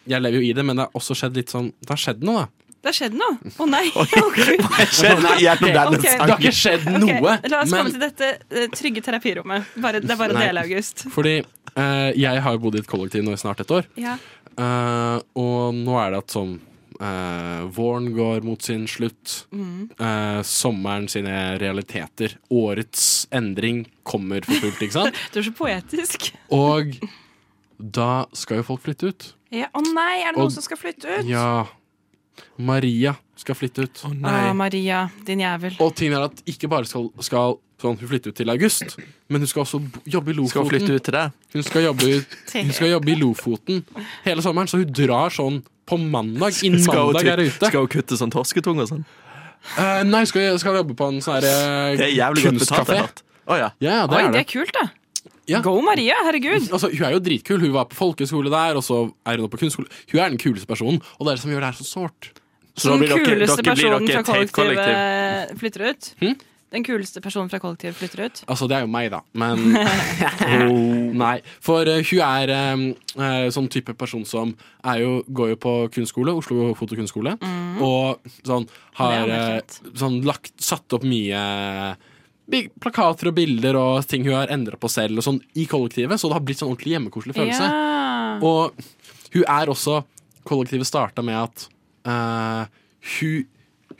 jeg lever jo i det, men det har også skjedd litt sånn Det har skjedd noe, da. Det har skjedd noe. Å nei. Okay. skjedde gjennom denne Ok. sangen? Det har ikke skjedd Ok, noe, La oss men- komme til dette eh, trygge terapirommet. Bare, det er bare å Nei. dele, August. Fordi eh, jeg har jo bodd i et kollektiv nå i snart et år. Ja. Eh, og nå er det at sånn eh, Våren går mot sin slutt. Mhm. Mm. Eh, sommeren sine realiteter. Årets endring kommer for fullt, ikke sant? Du er så poetisk. Og da skal jo folk flytte ut. Ja. Å nei, er det Og- noen som skal flytte ut? Ja. Maria skal flytte ut. Å, Ah, Maria, din jævel. Og tingen er at ikke bare skal, skal sånn, hun flytte ut til august, men hun skal også bo- jobbe i Lofoten. Skal hun flytte ut til deg? Hun skal jobbe, ut- hun skal jobbe i Lofoten hele sommeren, så hun drar sånn på mandag. Innen Skal hun mandag til- er hun ute. Skal hun kutte sånn torsketung og sånn? Eh, nei, skal jeg, skal jeg jobbe på en sånn her eh, Det er jævlig godt betalt, kunstkafé. det er klart. Å ja. Ja, det Oi, det er det. er kult, da. Ja. Go Maria, herregud. Altså, hun er jo dritkul. Hun var på folkeskole der, og så er hun nå på kunstskole. Hun er den kuleste personen, og det er det som gjør det her så sårt. Så den kuleste personen fra kollektivet flytter ut. Hm? Den kuleste personen fra kollektivet flytter ut. Altså, det er jo meg, da, men oh, Nei. For eh, hun er eh, eh, sånn type person som er jo, går jo på kunstskole, Oslo fotokunstskole, og sånn har Mm. Det er eh, sånn lagt, satt opp mye bi- plakater og bilder og ting hun har endra på selv, og sånn i kollektivet, så det har blitt sånn ordentlig hjemmekoselig følelse. Ja. Og hun er også Kollektivet starta med at eh, hun,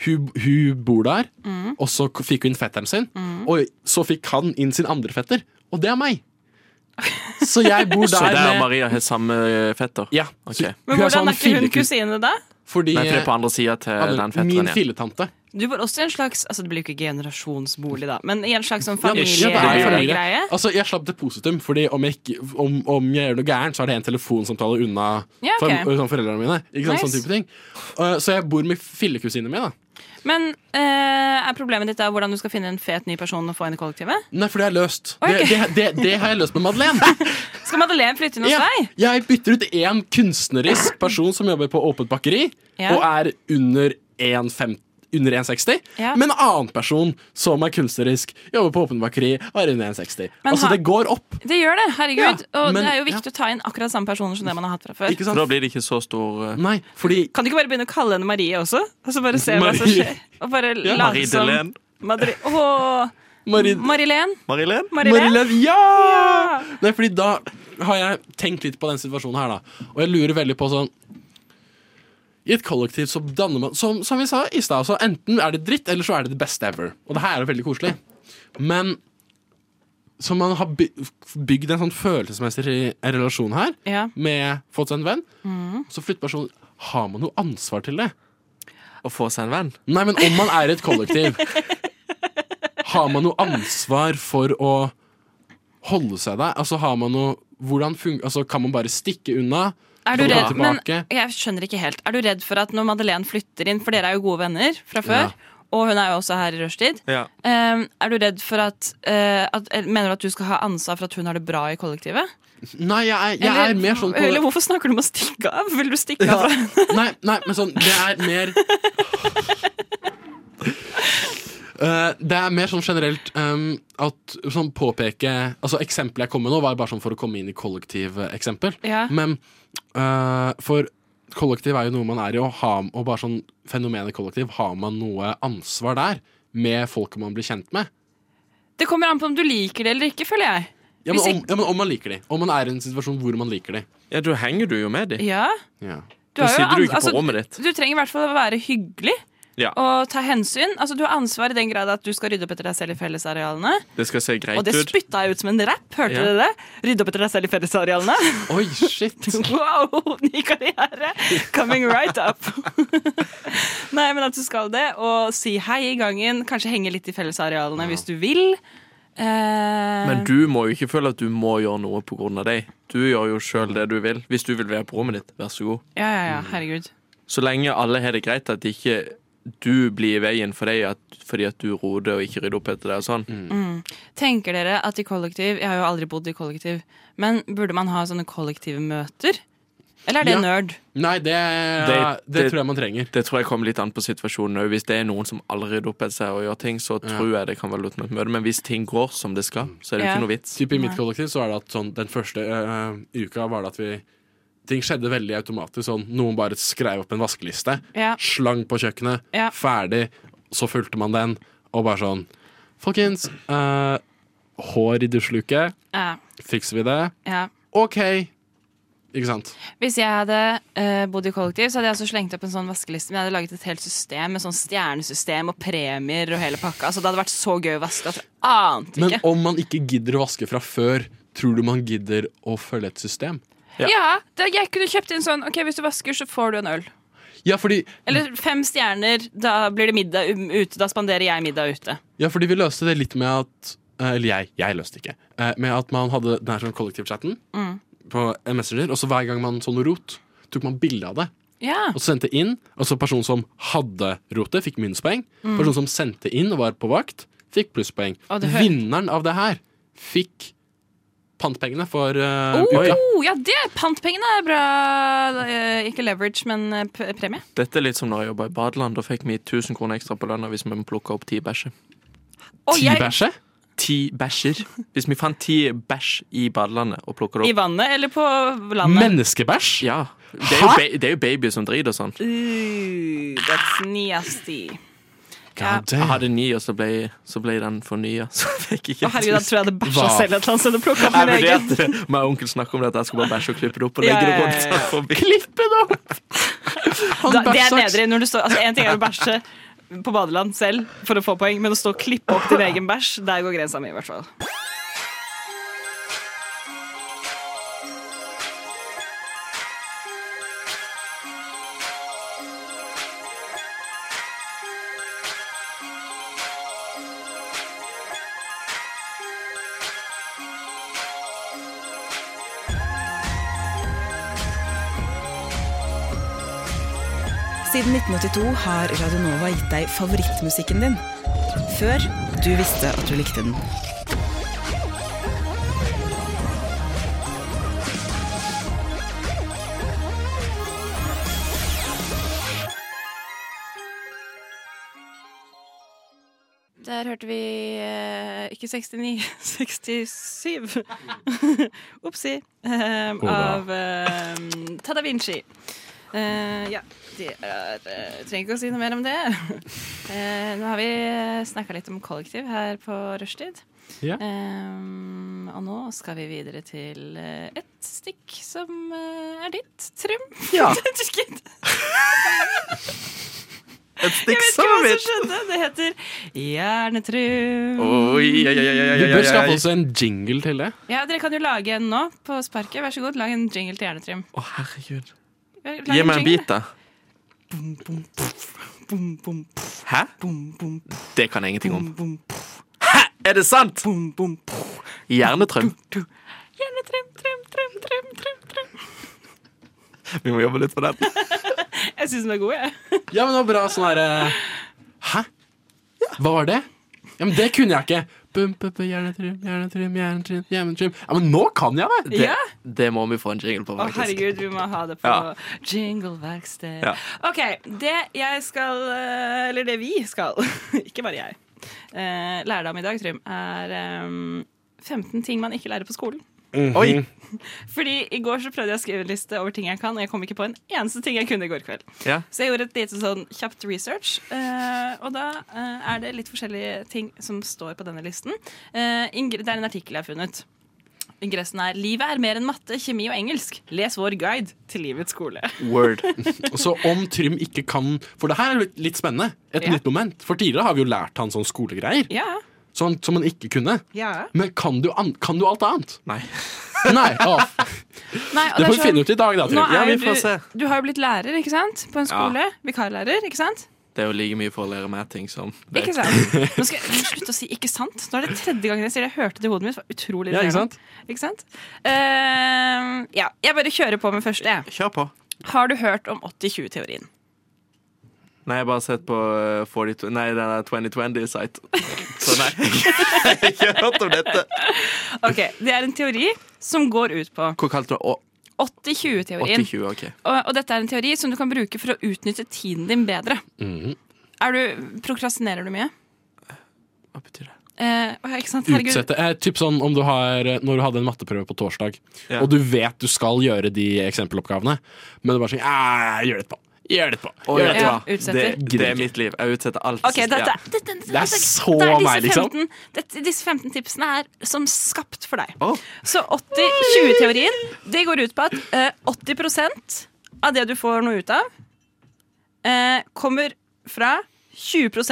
hun, hun bor der, Mm. og så k- fikk hun inn fetteren sin. Mm. Og så fikk han inn sin andre fetter, og det er meg. Så jeg bor der Så der med Maria har samme fetter? Ja. Men sånn hvordan er ikke hun kusine, da? Fordi Nei, for det er på andre sida til Ja, den men Min fetteren igjen. filletante. Du bor også i en slags altså Det blir jo ikke generasjonsbolig, da, men i en slags sånn Ja, men- ja, det er jo familie. familiegreie. Altså, jeg slapp depositum, Fordi om jeg, ikke, om, om jeg gjør noe gærent, så er det en telefonsamtale unna Ja, ok. for, sånn foreldrene mine. Ikke sant, sånn Nice. type ting Eh, Så jeg bor med fillekusinen min. da Men eh, er problemet ditt da hvordan du skal finne en fet ny person å få inn i kollektivet? Nei, for det er løst. Oi, ok. Det, det, det, det har jeg løst med Madeleine. Skal Madeleine flytte inn hos Ja, deg? jeg bytter ut én kunstnerisk person som jobber på åpent bakeri, Ja. og er under 1,50 under 1,60, Ja. men en annen person som er kunstnerisk, jobber på åpent bakeri og er under 1,60. Men Altså, ha- det går opp. Det gjør det, herregud. Ja, og men- det er jo viktig å ta inn akkurat samme personer som det man har hatt fra før. Så da blir det ikke så stor eh, Nei, fordi Kan du ikke bare begynne å kalle henne Marie også? Og så bare se hva som Marie. skjer? Og bare Ja. late som Marie-Delene. Madri- Åh. Marie- Marie-Len. Marilyn? Marilyn? ja! Nei, fordi da har jeg tenkt litt på den situasjonen her, da. Og jeg lurer veldig på sånn I et kollektiv så danner man Som, som vi sa i stad, så enten er det dritt, eller så er det det beste ever. Og det her er jo veldig koselig. Men så man har by- bygd en sånn følelsesmessig re- relasjon her, Ja. med fått seg en venn. Mm. Så flytter personen Har man noe ansvar til det? Å få seg en venn? Nei, men om man er i et kollektiv, har man noe ansvar for å holde seg der? Altså, har man noe hvordan fun- altså, Kan man bare stikke unna? Er du Kan man redd, gå men tilbake? jeg skjønner ikke helt. Er du redd for at når Madeleine flytter inn, for dere er jo gode venner fra før, og hun er jo også her i rushtid, Ja. eh, er du redd for at, eh, at eller Mener du at du skal ha ansvar for at hun har det bra i kollektivet? Nei, jeg, er- jeg er mer sånn på- Eller hvorfor snakker du om å stikke av? Vil du stikke av? nei, nei, men sånn Det er mer Eh, det er mer sånn generelt ehm, at sånn påpeke Altså Eksempelet jeg kom med nå, var bare sånn for å komme inn i kollektiveksempel. Ja. Men eh, for kollektiv er jo noe man er i, og, har, og bare sånn fenomenet kollektiv, har man noe ansvar der? Med folket man blir kjent med? Det kommer an på om du liker det eller ikke, føler jeg. Ja, men Hvis om, ja, men om man liker de. Om man er i en situasjon hvor man liker de. Ja, da henger du jo med de. Ja. Ja. Du har jo an- altså, ditt. Du trenger i hvert fall å være hyggelig Ja, og ta hensyn. Altså, du har ansvar i den grad at du skal rydde opp etter deg selv i fellesarealene. Det skal se greit Og det ut. spytta jeg ut som en rapp, hørte Ja. dere det? Rydde opp etter deg selv i fellesarealene. Oi, shit. wow, ny karriere! Coming right up. Nei, men at du skal det, og si hei i gangen. Kanskje henge litt i fellesarealene hvis du vil. Eh, Men du må jo ikke føle at du må gjøre noe på grunn av deg. Du gjør jo sjøl det du vil. Hvis du vil være på rommet ditt, vær så god. Ja, ja, ja, herregud. Så lenge alle har det greit, at ikke du blir i veien for deg at, fordi at du roder og ikke rydder opp etter deg og sånn. Mm. Tenker dere at i kollektiv Jeg har jo aldri bodd i kollektiv, men burde man ha sånne kollektive møter? Eller er det Ja. nerd? Nei, det, det, tror jeg man trenger. Det tror jeg kommer litt an på situasjonen òg. Hvis det er noen som aldri rydder opp etter seg og gjør ting, så Ja. tror jeg det kan være lurt med et møte. Men hvis ting går som det skal, så er det jo Ja. ikke noe vits. Typ I mitt kollektiv så er det at sånn, den første eh, uka var det at vi Ting skjedde veldig automatisk. Sånn, noen bare skrev opp en vaskeliste, Ja. slang på kjøkkenet, Ja. ferdig. Så fulgte man den, og bare sånn Folkens, eh, hår i dusjluke. Ja. Fikser vi det? ja. OK! Ikke sant? Hvis jeg hadde eh, bodd i kollektiv, så hadde jeg også slengt opp en sånn vaskeliste. Men jeg hadde laget et helt system med sånn stjernesystem og premier og hele pakka. Så det hadde vært så gøy å vaske at jeg ante Men ikke. om man ikke gidder å vaske fra før, tror du man gidder å følge et system? ja, det, jeg kunne kjøpt inn sånn OK, hvis du vasker, så får du en øl. Ja, fordi Eller fem stjerner, da blir det middag um, ute. Da spanderer jeg middag ute. Ja, fordi vi løste det litt med at eh, Eller jeg, jeg løste det ikke. eh, Med at man hadde den her sånn kollektivchatten Mm. på en Messenger, og så hver gang man så noe rot, tok man bilde av det. Ja. Og så sendte inn, og så personen som hadde rotet, fikk minuspoeng. Mm. Personen som sendte inn og var på vakt, fikk plusspoeng. Å, det hø- Vinneren av det her fikk pantpengene for eh, Oh, uka. ja, det pantpengene er bra. eh, Ikke leverage, men eh, p- premie. Dette er litt som når jeg jobba i badeland. Da fikk vi 1000 kroner ekstra på lønna hvis vi plukka opp ti bæsjer. Og jeg- Ti bæsjer. Hvis vi fant ti bæsj i badelandet og plukka det I opp. vannet eller på landet. Menneskebæsj? Ja. Det er jo, ba det er jo babyer som driter og sånn. Ooh, Uh, that's nasty. Jeg hadde ni, og så ble, så ble den fornya. Så fikk jeg ikke Å, herregud, da tror jeg jeg hadde bæsja Hva? selv et eller annet sted og plukket opp Jeg min egen. vurderte det. Meg og onkel snakker om det, at jeg skal bare bæsje og klippe det opp. Og Ja, legge det ja, rundt ja, ja. forbi. Da, det er bæsjaks. nedre når du står Altså, en ting er å bæsje på badeland selv for å få poeng, men å stå og klippe opp din egen bæsj, der går grensa mi, i hvert fall. Siden 1982 har Radio Nova gitt deg favorittmusikken din. Før du visste at du likte den. Der hørte vi eh, ikke 69, 67. Opsi. Eh, da. av eh, Tada Vinci. Eh, ja, det er eh, Trenger ikke å si noe mer om det. Eh, nå har vi snakka litt om kollektiv her på rushtid. Ja. Eh, og nå skal vi videre til eh, et stikk som eh, er ditt, Trym. Ja. Jeg vet ikke Et hva stikk som som mitt. skjedde. Det heter Hjernetrym. Oi, oi, oi, oi, oi, Vi oi, bør oi. skaffe oss en jingle til det. Ja, Dere kan jo lage en nå på sparket. Vær så god, lag en jingle til Hjernetrim. Å, herregud. Lag Gi meg en jingle. bit, da. Hæ? Det kan jeg ingenting om. Hæ? Er det sant? Hjernetrøm. Hjernetrim, trim, trim, trim, trim, trim. Vi må jobbe litt på den. Jeg syns den er god, jeg. Ja, men det var bra sånn her eh, Hæ? Hva var det? Ja, men det kunne jeg ikke. Bum, bum, bum, Hjernetrim, hjernetrim, hjernetrim, hjernetrim. Ja, men nå kan jeg det! Det- Ja. det må vi få en jingle på, Å, herregud, vi må ha det på Ja. jingleverksted. Ja. OK. Det jeg skal eh, Eller det vi skal, ikke bare jeg, eh, lære deg om i dag, Trym, er eh, 15 ting ehm, man ikke lærer på skolen. Oi. Fordi i går så prøvde jeg å skrive en liste over ting jeg kan, og jeg kom ikke på en eneste ting jeg kunne i går kveld. Ja. Så jeg gjorde et lite sånn kjapt research, eh, og da eh, er det litt forskjellige ting som står på denne listen. Eh, Ingrid, det er en artikkel jeg har funnet. Ingressen er 'Livet er mer enn matte, kjemi og engelsk'. Les vår guide til livets skole. Word. så om Trym ikke kan For det her er litt, litt spennende. Et Ja. nytt moment. For tidligere har vi jo lært han sånn skolegreier. Ja. Sånn, som han ikke kunne. Ja. Men kan du, an kan du alt annet? Nei. Nei, ah, Nei, og er Det får sånn- vi finne ut i dag, da, Trym. Nå er Ja, vi jo får se. du, du har jo blitt lærer, ikke sant? På en skole. Vikarlærer, ikke sant? Det er jo like mye for å lære meg ting som deg. Ikke sant? Nå skal jeg slutte å si 'ikke sant'. Nå er det tredje gangen jeg sier det. Jeg hørte det i hodet mitt. Det var utrolig Ja, ikke irriterende. sant? Ikke sant? Eh, ja, jeg bare kjører på med første. jeg. Kjør på. Har du hørt om 80-20-teorien? Nei, jeg har bare sett på eh, 42 Nei, den der 2020-site. Så nei, jeg har ikke hørt om dette. Ok, Det er en teori som går ut på Hvor kalte du det? Å, 80-20-teorien. 80-20, OK. Og, og dette er en teori som du kan bruke for å utnytte tiden din bedre. Mhm. Er du, prokrastinerer du mye? Hva betyr det? ikke sant? Herregud. Utsette. Eh, typ sånn om du har, når du hadde en matteprøve på torsdag, Ja. og du vet du skal gjøre de eksempeloppgavene, men du bare sånn «Ah, Jeg gjør det etterpå. Jeg Gjør det etterpå. Å, Gjør vet du etterpå». hva? det, det er mitt liv. Jeg utsetter alt. Ok, dette, Ja. dette, dette, altså, Det er dette- så det er disse meg, liksom. 15 dette, disse 15 tipsene er som skapt for deg. Så 80-20-teorien Det går ut på at eh, 80 av det du får noe ut av, eh, kommer fra 20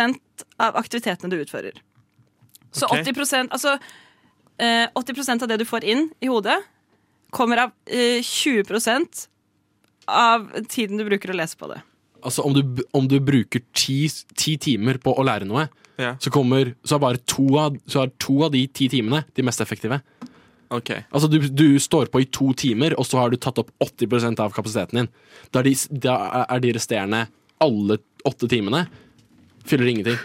av aktivitetene du utfører. Så Ok. 80 Altså eh, 80 av det du får inn i hodet, kommer av eh, 20 av tiden du bruker å lese på det. Altså, om du, om du bruker ti, ti timer på å lære noe, så, kommer, så, er bare to av, så er to av de ti timene de mest effektive. Ok. Altså, du, du står på i to timer, og så har du tatt opp 80 av kapasiteten din. Da er de, da er de resterende alle åtte timene fyller ingenting.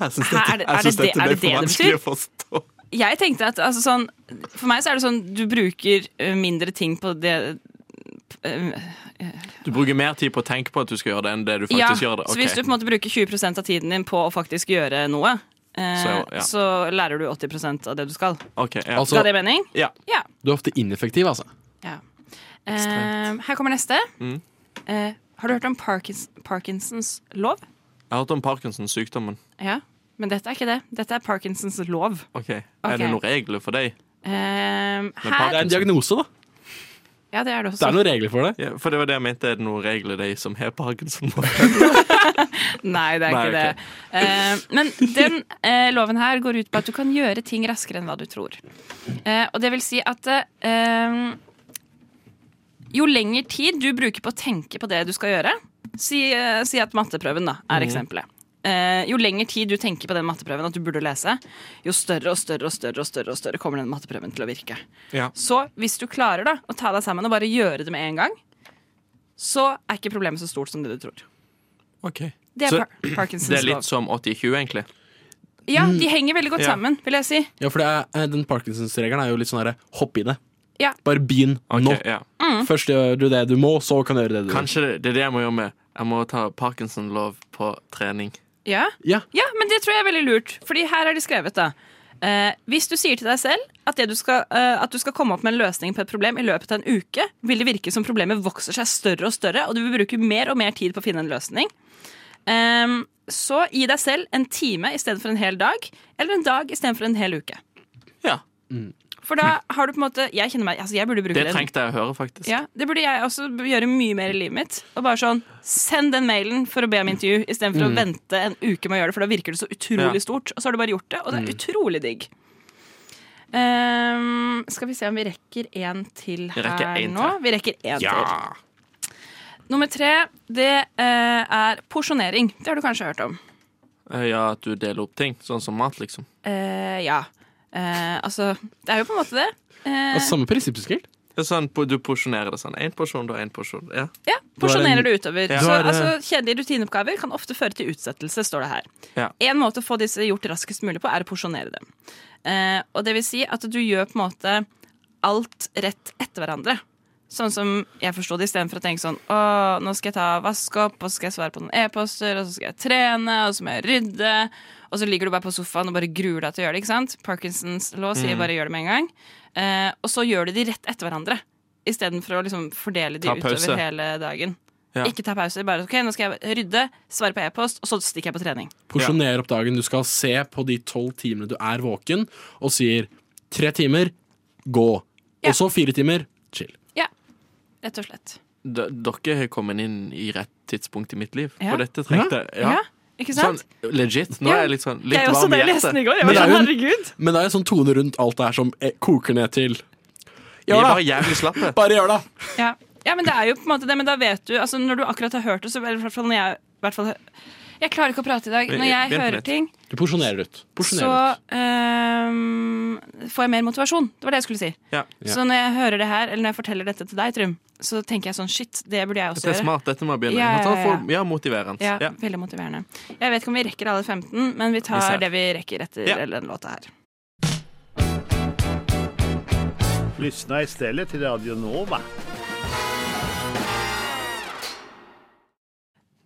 Jeg syns Hæ, er det- er det det- er det det det betyr? forstå. Jeg tenkte at altså, sånn, For meg så er det sånn du bruker ø, mindre ting på det eh, ø, Du bruker mer tid på å tenke på at du skal gjøre det, enn det du Ja, faktisk gjør det. så Ok. hvis du på en måte bruker 20 av tiden din på å faktisk gjøre noe, eh, så, Så, ja. lærer du 80 av det du skal. Ok, ja. Altså- Ga det mening? Ja. Ja. Du er ofte ineffektiv, altså. ja. Eh, her kommer neste. Mm. Eh, har du hørt om Parkins, Parkinsons lov? Jeg har hørt om Parkinson-sykdommen. Ja, men dette er ikke det. Dette er Parkinsons lov. Ok, Er det Ok. noen regler for deg? Eh, her, Det er en diagnose, da. Ja, det er det også. regler for det? Ja, for det var det jeg mente. Er det noen regler de som har Parkinson? Nei, det er Nei, ikke ok. det. Eh, men den eh, loven her går ut på at du kan gjøre ting raskere enn hva du tror. Eh, og det vil si at eh, jo lengre tid du bruker på å tenke på det du skal gjøre Si, eh, si at matteprøven da, er Mhm. eksempelet. Eh, jo lengre tid du tenker på den matteprøven at du burde lese, jo større og større og større og større, og større kommer den matteprøven til å virke. Ja. Så hvis du klarer da å ta deg sammen og bare gjøre det med en gang, så er ikke problemet så stort som det du tror. Ok. Det er Så par Parkinsons Det er lov. litt sånn- Mm. som 80-20, egentlig. Ja, de henger veldig godt Ja. sammen, vil jeg si. Ja, for det er, eh, den Parkinsons-regelen er jo litt sånn herre hopp i det. Ja. Bare begynn nå. Mm. Først gjør du det du må, så kan du gjøre det du Kanskje det, det er det jeg må gjøre med. Jeg må ta Parkinson-lov på trening. Ja. Ja. men det tror jeg er veldig lurt, Fordi her er de skrevet, da. Eh, hvis du sier til deg selv at, det du skal, eh, at du skal komme opp med en løsning på et problem i løpet av en uke, vil det virke som problemet vokser seg større og større, og du vil bruke mer og mer tid på å finne en løsning. Ehm, så gi deg selv en time istedenfor en hel dag, eller en dag istedenfor en hel uke. Ja. For da har du på en måte Jeg kjenner meg, altså jeg burde bruke Det den- trengte jeg å høre, faktisk. Ja, Det burde jeg også gjøre mye mer i livet mitt. Og bare sånn, Send den mailen for å be om intervju, istedenfor for å Mm. vente en uke med å gjøre det. For da virker det så utrolig Ja. stort. Og så har du bare gjort det, og det er Mm. utrolig digg. Ehm, skal vi se om vi rekker én til Vi her rekker en til. nå? Vi rekker én Ja. til. Nummer tre, det eh, er porsjonering. Det har du kanskje hørt om. Eh, Ja, at du deler opp ting. Sånn som mat, liksom. Eh, ja. Eh, altså, det er jo på en måte det. Eh, prinsipp, sikkert. Det er sånn, du porsjonerer det sånn. Én porsjon, da én porsjon. Ja. ja, porsjonerer du utover. Ja. Så Da er det- altså, Kjedelige rutineoppgaver kan ofte føre til utsettelse, står det her. Ja. En måte å få disse gjort raskest mulig på, er å porsjonere dem. Eh, og det vil si at du gjør på en måte alt rett etter hverandre. Sånn som jeg forsto det, istedenfor å tenke sånn Å, nå skal jeg ta vask opp, og så skal jeg svare på noen e-poster, og så skal jeg trene, og så må jeg rydde. Og så ligger du bare på sofaen og bare gruer deg til å gjøre det. ikke sant? Parkinsons lov sier Mm. bare gjør det med en gang. Eh, og så gjør du de rett etter hverandre, istedenfor å liksom fordele de Ta pause. utover hele dagen. Ja. Ikke ta pauser. Bare ok, nå skal jeg rydde, svare på e-post, og så stikker jeg på trening. Porsjoner opp dagen. Du skal se på de tolv timene du er våken, og sier tre timer, gå. Og så fire timer, chill. Ja, rett og slett. D dere har kommet inn i rett tidspunkt i mitt liv. Ja. For dette trengte jeg. Ja, ikke sant? Sånn, legit. Nå Ja. er jeg litt sånn litt Jeg er også varm i det jeg hjertet. leste i går, jeg sånn, Men det er jo en- herregud. Men det er en sånn tone rundt alt det her som eh, koker ned til Vi Gjør var det! jævlig slappe. Bare gjør det! Ja. ja, men det er jo på en måte det, men da vet du altså Når du akkurat har hørt det, så eller i hvert fall når jeg i hvert fall, Jeg klarer ikke å prate i dag. Når jeg hører ting, Du porsjonerer ut. så Porsjonerer ut. øhm, får jeg mer motivasjon. Det var det jeg skulle si. Ja. Så når jeg hører det her, eller når jeg forteller dette til deg, Trym, så tenker jeg sånn shit, det burde jeg også Dette er gjøre. smart. Dette må jeg begynne Ja, med. ja, ja. Ja, motiverende. Ja, Ja. Veldig motiverende. Jeg vet ikke om vi rekker alle 15, men vi tar Vi ser. det vi rekker etter Ja. den låta her. Lyssna istället till Radio Nova.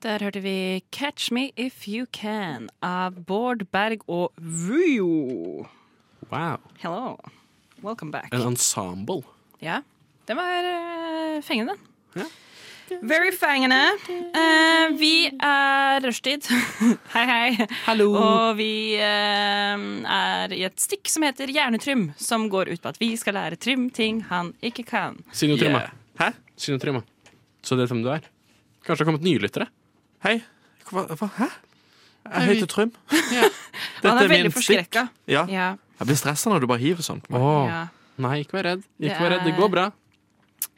Der hørte vi 'Catch Me If You Can' av Bård Berg og Vujo. Wow. Hello. Welcome back. En ensemble. Ja. Den var eh, fengende. Very fengende. Eh, vi er rushtid. hei, hei. Hallo. Og vi eh, er i et stikk som heter Hjernetrym, som går ut på at vi skal lære Trym ting han ikke kan. Sinotrymme. Yeah. Hæ? Sinotrymme. Så det er hvem du er. Kanskje det har kommet nylyttere. Hei. Hva, hva, hæ? Jeg heter Trym. Han Dette er er min veldig forskrekka. stikk. Ja. Ja. Jeg blir stressa når du bare hiver sånn på meg. Åh. Ja. Nei, ikke vær redd. Det Ikke vær redd, det går er- bra.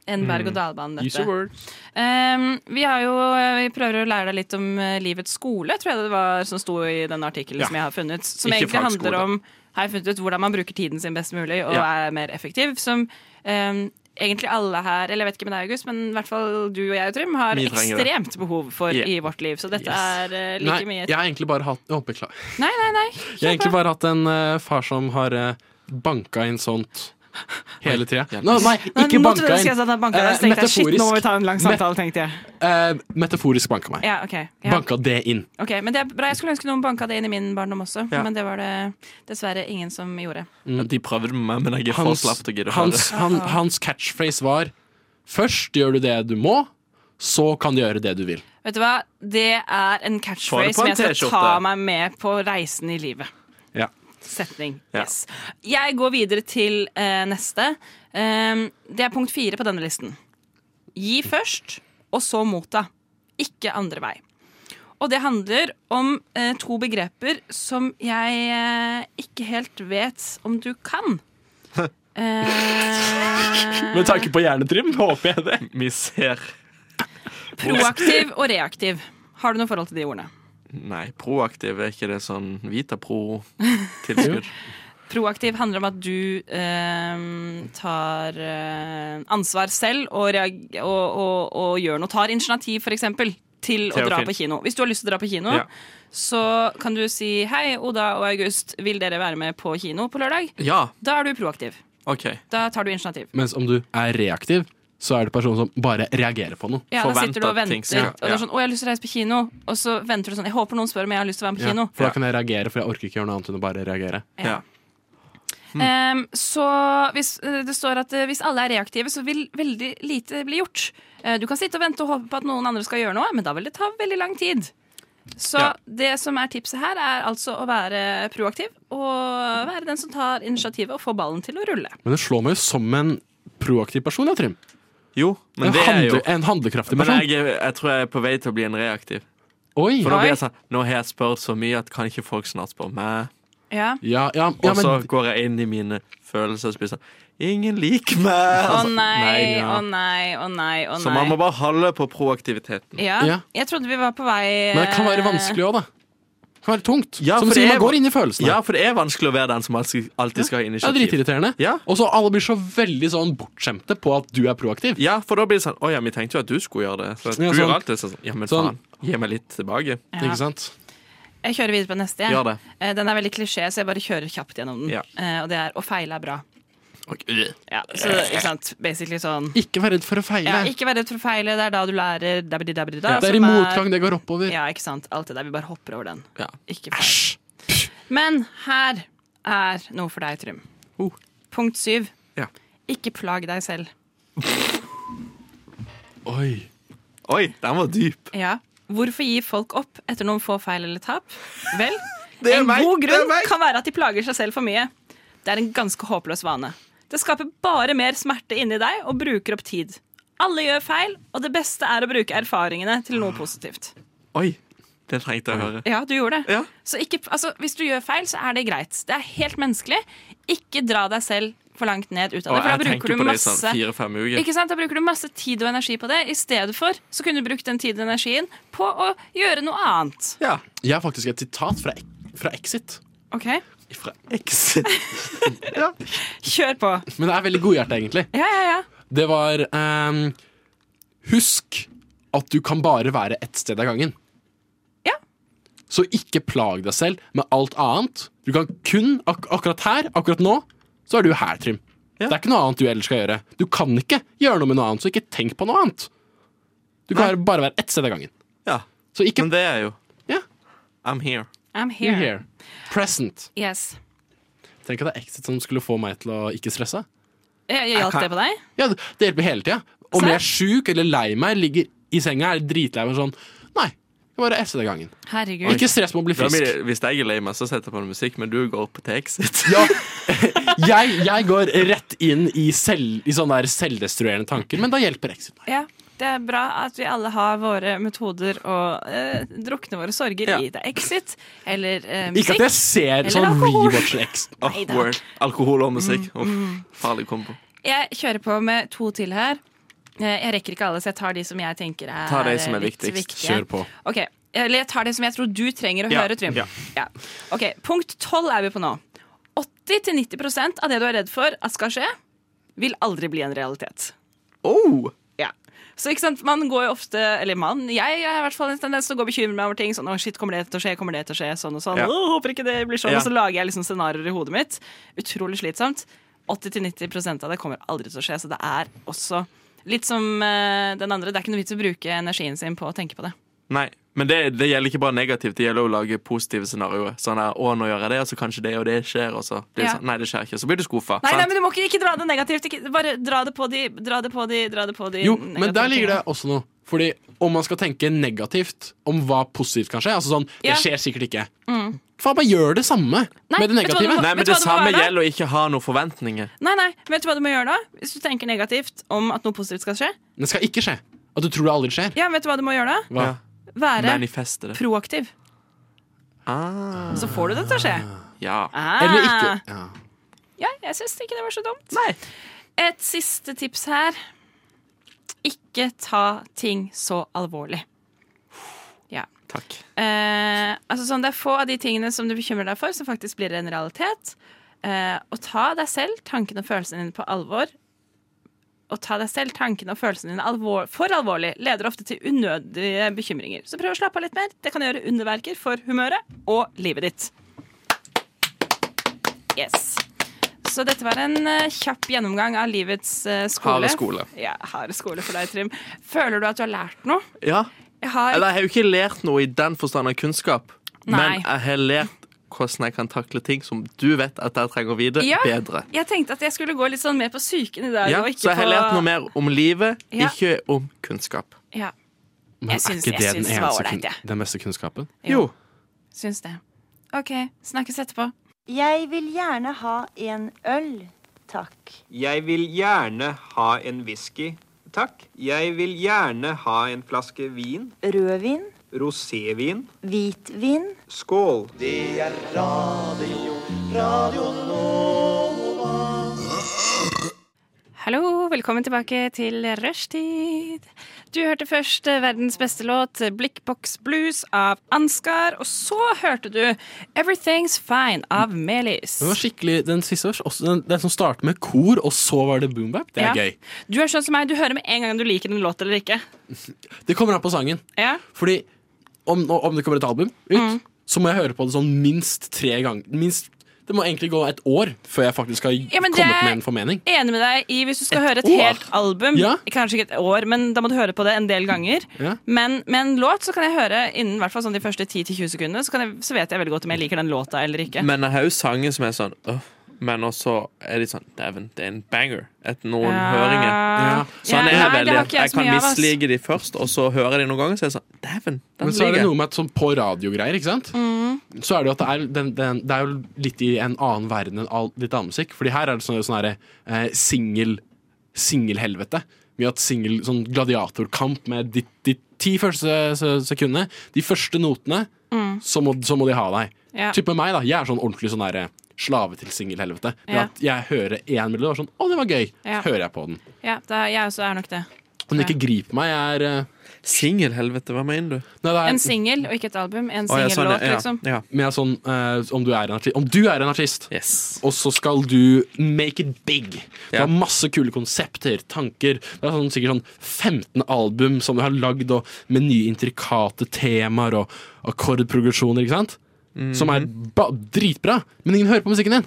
En berg-og-dal-bane, Use dette. your words. Ehm, vi, har jo, vi prøver å lære deg litt om eh, livets skole, tror jeg det var som sto i den artikkelen Ja. som jeg har funnet. Som Ikke egentlig handler fagskole. om har jeg funnet ut hvordan man bruker tiden sin best mulig og Ja. er mer effektiv. Som ehm, egentlig alle her, eller jeg vet ikke med deg August, men i hvert fall du og jeg, Trym, har Vi trenger det. ekstremt behov for Yeah. i vårt liv. Så dette er eh, Nei, like mye jeg har egentlig bare hatt Å, beklager. Nei, nei, nei. Jeg har egentlig bare hatt en eh, far som har uh, banka inn sånt hele tida. Nei, nei, ikke nå trodde jeg banka inn. skulle si at han banka Eh, deg, så tenkte jeg, shit, nå må vi ta en lang Met- samtale, tenkte jeg. eh, metaforisk banka meg. Ja, ok. Ja. Banka det inn. Ok, men det er bra. Jeg skulle ønske noen banka det inn i min barndom også, Ja. men det var det dessverre ingen som gjorde. De prøvde med meg, men jeg er for Hans, slapp til å gidde å hans, høre. han, hans catchphrase var Først gjør du det du må, så kan du gjøre det du vil. Vet du hva? Det er en Får catchphrase det på som en jeg skal T-skjorte. ta meg med på reisen i livet. Ja. Setning. Ja. Yes. Jeg går videre til eh, neste. Ehm, det er punkt fire på denne listen. Gi først, og så motta. Ikke andre vei. Og det handler om eh, to begreper som jeg eh, ikke helt vet om du kan. Eh, Med tanke på hjernetrim, håper jeg det. Vi ser. proaktiv og reaktiv. Har du noe forhold til de ordene? Nei, proaktiv er ikke det sånn Vitapro-tilskudd? Proaktiv handler om at du eh, tar eh, ansvar selv og, reag- og, og, og gjør noe. Tar initiativ, for eksempel, til å Til å dra fin- på kino. Hvis du har lyst til å dra på kino, Ja. så kan du si hei, Oda og August, vil dere være med på kino på lørdag? Ja. Da er du proaktiv. OK. Da tar du initiativ. Mens om du er reaktiv, så er det personen som bare reagerer på noe. Ja, da sitter du og venter. Og det er sånn, 'Å, jeg har lyst til å reise på kino.' Og så venter du sånn 'Jeg håper noen spør om jeg har lyst til å være med på Ja, kino'. for da kan jeg reagere, for jeg orker ikke gjøre noe annet enn å bare reagere. Ja. Mm. Ehm, så hvis, eh, det står at eh, hvis alle er reaktive, så vil veldig lite bli gjort. Eh, Du kan sitte og vente og håpe på at noen andre skal gjøre noe, men da vil det ta veldig lang tid. Så Ja. det som er tipset her, er altså å være proaktiv og være den som tar initiativet og får ballen til å rulle. Men det slår meg jo som en proaktiv person, ja, Trym. Jo, men en det er jo- En handlekraftig Men person. jeg, er- jeg tror jeg er på vei til å bli en reaktiv. Oi. For nå blir jeg Oi. sånn Nå har jeg spurt så mye at kan ikke folk snart spørre meg? Ja. Ja, ja, ja, og så men- går jeg inn i mine følelser og spør sånn Ingen liker meg! Å Altså, nei, ja. å nei, å nei, å Så man nei. må bare holde på proaktiviteten. Ja, jeg trodde vi var på vei eh, Men det kan være vanskelig òg, da. Det kan være tungt. Ja, Som for du sier, det man er- går inn i følelsene. Ja, for det er vanskelig å være den som alltid, alltid skal ha Det er initiativ. dritirriterende. Og så alle blir så veldig sånn bortskjemte på at du er proaktiv. Ja, for da blir det sånn Å ja, vi tenkte jo at du skulle gjøre det. Så Ja, du sånn. gjør alltid sånn. Ja, men Sånn. faen. Gi meg litt tilbake. Ja. Ikke sant? Jeg kjører videre på neste. jeg. Gjør det. Eh, Den er veldig klisjé, så jeg bare kjører kjapt gjennom den. Eh, Og det er 'å feile er bra'. øh. Ja, så, ikke sant, basically sånn Ikke vær redd for å feile. ja, Ikke vær redd for å feile, det er da du lærer dabidi dabidi da, Ja. Det er i som motgang det går oppover. Ja, ikke sant, alt det der, vi bare hopper over den Ja. Ikke feil Men her er noe for deg, Trym Punkt 7 Oh. Ja. Ikke plag deg selv Oi. Oi, den var dyp. Ja. Hvorfor gir folk opp etter noen få feil eller tap? Vel, Det er en meg, god det er grunn meg. kan være at de plager seg selv for mye. Det er en ganske håpløs vane. Det skaper bare mer smerte inni deg og bruker opp tid. Alle gjør feil, og det beste er å bruke erfaringene til Ah. noe positivt. Oi, det trengte jeg å høre. Ja, du gjorde det. Så ikke, altså, hvis du gjør feil, så er det greit. Det er helt menneskelig. Ikke dra deg selv for langt ned ut av Og det, for da jeg bruker tenker du på det i masse sånn fire-fem uker. Ikke sant? Da bruker du masse tid og energi på det. I stedet for så kunne du brukt den tiden og energien på å gjøre noe annet. Jeg har faktisk et sitat fra, fra Exit. Ok? Fra Exit? Kjør på. Men det er veldig godhjertet, egentlig. Ja, ja, ja. Det var ehm, Husk at du kan bare være ett sted av gangen. Ja. Så ikke plag deg selv med alt annet. Du kan kun ak akkurat her, akkurat nå, så er du her, Trym. Det er ikke noe annet du ellers skal gjøre. Du kan ikke gjøre noe med noe annet, så ikke tenk på noe annet. Du kan bare være ett sted av gangen. Ja. Så ikke Men det er jo Ja. I'm here. I'm You're here. here. Present. Yes. Tenk at det er Exit som skulle få meg til å ikke stresse. Jeg, jeg hjalp det på deg? Ja, det, det hjelper hele tida. Om jeg er sjuk eller lei meg, ligger i senga, er dritlei meg sånn Nei, jeg bare esser den gangen. Herregud. Ikke stress med å bli Da frisk. blir det- hvis jeg er lei meg, så setter jeg på noe musikk, men du går på til Exit. Jeg, jeg går rett inn i, selv, i sånne der selvdestruerende tanker, men da hjelper Exit. Ja, det er bra at vi alle har våre metoder og eh, drukne våre sorger i The Exit eller eh, musikk. Ikke at jeg ser eller sånn alkohol. rewatcher Exit. Åh, Neida. Word. Alkohol og musikk. Mm, Uff, mm. farlig kombo. Jeg kjører på med to til her. Eh, Jeg rekker ikke alle, så jeg tar de som jeg tenker er Ta de som er litt viktigst. viktige. Kjør på. Ok, Eller jeg tar de som jeg tror du trenger å Ja, høre, Trym. ja. Ja. Ok, Punkt 12 er vi på nå. 80-90 av det du er redd for at skal skje, vil aldri bli en realitet. Oh! Ja. Så ikke sant, Man går jo ofte Eller mann, jeg har i hvert fall en tendens til å gå og bekymre meg over ting. Sånn, å shit, kommer det til å skje, kommer det til å skje, sånn og sånn. Ja. Å, håper ikke det blir sånn, Ja. Og så lager jeg liksom scenarioer i hodet mitt. Utrolig slitsomt. 80-90 av det kommer aldri til å skje, så det er også litt som eh, den andre. Det er ikke noe vits å bruke energien sin på å tenke på det. Nei, men det, det gjelder ikke bare negativt, det gjelder å lage positive scenarioer. Sånn der, å, nå gjør jeg det, og så kanskje det og det skjer, og så blir det Ja. sånn, nei, det skjer ikke. Så blir du skuffa. Nei, nei, men du må ikke, ikke dra det negativt. Ikke, bare dra det på de, dra det på de, dra det på de Jo, negative men der ligger det tingene. også noe. Fordi om man skal tenke negativt om hva positivt kan skje, altså sånn Ja. Det skjer sikkert ikke. Mm. Faen, bare gjør det samme Nei, vet med det du hva du negative. må- Nei, men vet du det hva du må samme være da? gjelder å ikke ha noen forventninger. Nei, nei, vet du hva du må gjøre da? Hvis du tenker negativt om at noe positivt skal skje, Det skal ikke skje. At du tror det aldri skjer. ja, vet du hva du må gjøre da? Hva? Være Manifeste det. Ah, proaktiv. Så får du det til å skje. Ja. Ah. Eller ikke. Ja, jeg syns ikke det var så dumt. Et siste tips her. Ikke ta ting så alvorlig. Ja. Takk. Eh, altså sånn, det er få av de tingene som du bekymrer deg for, som faktisk blir en realitet. Eh, og ta deg selv, tankene og følelsene dine på alvor. Å ta deg selv, tankene og følelsene dine alvor, for alvorlig leder ofte til unødige bekymringer. Så prøv å slappe av litt mer. Det kan gjøre underverker for humøret og livet ditt. Yes. Så dette var en eh, kjapp gjennomgang av livets eh, skole. Harde skole. Ja, harde skole for deg, Trym. Føler du at du har lært noe? Ja. Jeg har Eller jeg har jo ikke lært noe i den forstand av kunnskap, Nei. men jeg har lært hvordan jeg kan takle ting som du vet at jeg trenger å vite, Ja, bedre. Jeg tenkte at jeg skulle gå litt sånn mer på psyken i dag. Ja, og ikke så jeg har på... lært noe mer om livet, Ja. ikke om kunnskap. Ja. Men Jeg syns- er ikke jeg det den, syns det var eneste, ålreit, kun- jeg. den beste kunnskapen? Jo. Syns det. OK, snakkes etterpå. Jeg vil gjerne ha en øl, takk. Jeg vil gjerne ha en whisky. Takk. Jeg vil gjerne ha en flaske vin. Rødvin, Rosévin. hvitvin. Skål. Det er radio, radio Hallo, velkommen tilbake til rushtid. Du hørte først eh, verdens beste låt, 'Blikkboks Blues' av Ansgar. Og så hørte du 'Everything's Fine' av Melis. Den var skikkelig, den siste års, også den, den som starter med kor, og så var det boombap. Det er Ja. gøy. Du er sånn som meg, du hører med en gang om du liker en låt eller ikke. Det kommer an på sangen. Ja. Fordi Mm. om, om det kommer et album ut, så må jeg høre på det sånn minst tre ganger. Minst Det må egentlig gå et år før jeg faktisk har Ja, men det kommet er- med en formening. Enig med deg i hvis du skal høre et år? helt album, Ja. kanskje ikke et år, men da må du høre på det en del ganger. Ja. Men med en låt så kan jeg høre innen hvert fall sånn de første 10-20 sekundene, så, kan jeg, så vet jeg veldig godt om jeg liker den låta eller ikke. Men jeg har jo sanger som er sånn «Åh», Men også er de sånn Dæven, det er en banger etter noen Ja. høringer. Ja. Så Sånn han Ja, nei, er det veldig har at ikke jeg jeg så kan mye av, ass. mislike de først, og så hører jeg de noen ganger, så er jeg sånn Dæven, den Men så er det liker noe jeg. med at sånn på radiogreier, ikke sant? Mm. Så er det jo at det er, den, den, det er jo litt i en annen verden enn all, litt annen musikk. Fordi her er det sånn, sånn herre, eh, singel singelhelvete. Mye at singel sånn gladiatorkamp med de, de ti første se- sekundene. De første notene, Mm. så, må, så må de ha deg. Ja. Typ med meg, da. Jeg er sånn ordentlig sånn derre slave til singelhelvete. Det Ja. At jeg hører én melodi og er sånn Å, det var gøy! Ja. Hører jeg på den. Ja, det er, jeg også er nok det. Om den ikke griper meg, jeg er uh, Singelhelvete, hva mener du? Nei, det er, En singel og ikke et album. En Å, ja, sånn, singellåt, ja, ja, liksom. ja. Men jeg er sånn, eh, om du er en artist, om du er en artist og så skal du make it big. Du har masse kule konsepter, tanker. Det er sånn, sikkert sånn 15 album som du har lagd, og med nye intrikate temaer og akkordprogresjoner, ikke sant? Som er ba dritbra, men ingen hører på musikken din.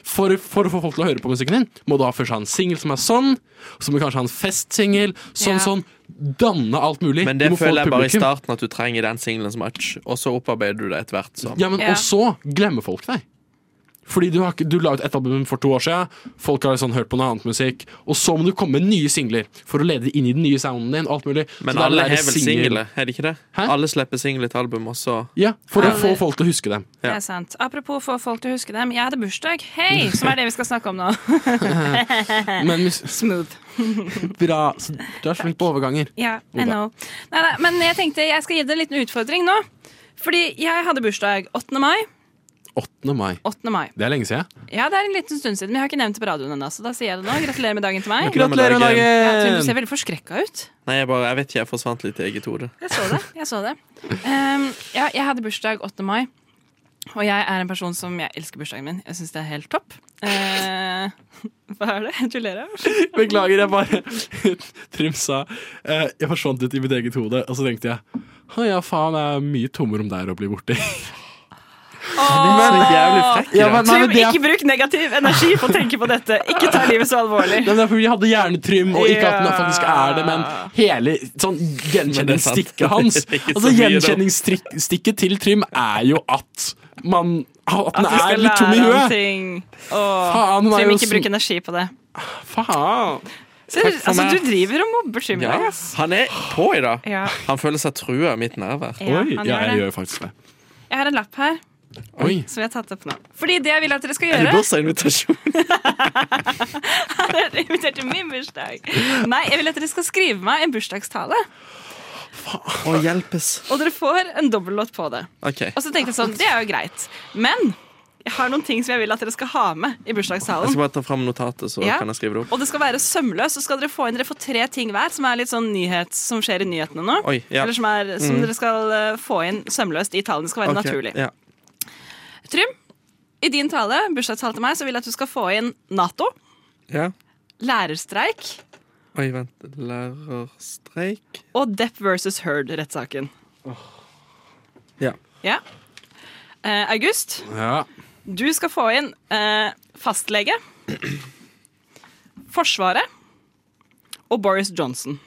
For, for å få folk til å høre på musikken din, må du ha først ha en singel som er sånn, så må du kanskje ha en festsingel, sånn, sånn. Danne alt mulig. Men det Du må få føler jeg bare i publikum. starten at du trenger den singelen som match, og så opparbeider du det etter hvert. som- Ja, men Og så glemmer folk deg. Fordi du, har, ikke- du la ut ett album for to år siden, folk har sånn hørt på noe annet musikk, og så må du komme med nye singler for å lede inn i den nye sounden din. og Alt mulig. Men Så det er alle det har der vel singel- single, er det ikke det? Alle slipper single i et album, og så Ja, for å Alle- få folk til å huske dem. Det er sant. Apropos få folk til å huske dem. Jeg hadde bursdag, hei! Som er det vi skal snakke om nå. Men hvis- Smooth. Bra. Så du er så flink på overganger. Ja, I Oda. know. Nei, nei, men jeg tenkte jeg skal gi deg en liten utfordring nå. Fordi jeg hadde bursdag 8. mai. 8. mai. 8. mai. Det er lenge siden. Ja, det er en liten stund siden, men jeg har ikke nevnt det på radioen ennå. Så da sier jeg det nå. Gratulerer med dagen til meg. Gratulerer med dagen. Ja, Trym, du ser veldig forskrekka ut. Nei, jeg, bare, jeg vet ikke, jeg forsvant litt i eget hode. Jeg så det. Jeg så det. Ehm, ja, jeg hadde bursdag 8. mai, og jeg er en person som jeg elsker bursdagen min. Jeg syns det er helt topp. Eh, hva er det? Du ler av? Beklager, jeg bare Trym sa eh, Jeg forsvant litt i mitt eget hode, og så tenkte jeg Å ja, faen, det er mye tomrom der å bli borti. Åh! Ja, men- nei, men Trym, det er- ikke bruk negativ energi på å tenke på dette. Ikke ta livet så alvorlig. Nei, men det er fordi jeg hadde hjernetrym, og ikke at den Ja. faktisk er det, men hele sånn Men det er sant. gjenkjenningsstikket hans Det er ikke så Altså mye, da. Gjenkjenningsstikket til Trym er jo at man At den At vi er skal litt tom i lære om huet! ting. Åh, Faen, hun er Trym, jo ikke sm- bruk energi på det. Faen! Så, Takk for altså, meg. du driver og mobber Trym i Ja. dag, ass. Han er på i dag. Ja. Han føler seg trua av mitt nærvær. Ja, Oi, han ja, gjør jeg det. gjør faktisk det. Jeg har en lapp her Oi. som jeg har tatt opp nå. Fordi det jeg vil at dere skal Er det gjøre bursdagsinvitasjon? Dere er invitert til min bursdag. Nei, jeg vil at dere skal skrive meg en bursdagstale. Å, hjelpes. Og dere får en dobbellåt på det. OK. Og så tenkte jeg sånn, det er jo greit. Men jeg har noen ting som jeg vil at dere skal ha med i Jeg skal bursdagstalen. bare ta fram notatet, så Ja. kan jeg skrive det opp. Og det skal være sømløst. Så skal dere få inn dere får tre ting hver som er litt sånn nyhet som skjer i nyhetene nå. Oi, ja. Eller som, er, som Mm. dere skal eh, få inn sømløst i talen. Det skal være Ok, naturlig. Ja. Trym, i din tale, bursdagstale til meg, så vil jeg at du skal få inn Nato, ja. lærerstreik Oi, vent. Lærerstreik og Depp versus Heard-rettssaken. Ja. Ja. Eh, August, Ja. du skal få inn eh, fastlege, Forsvaret og Boris Johnson.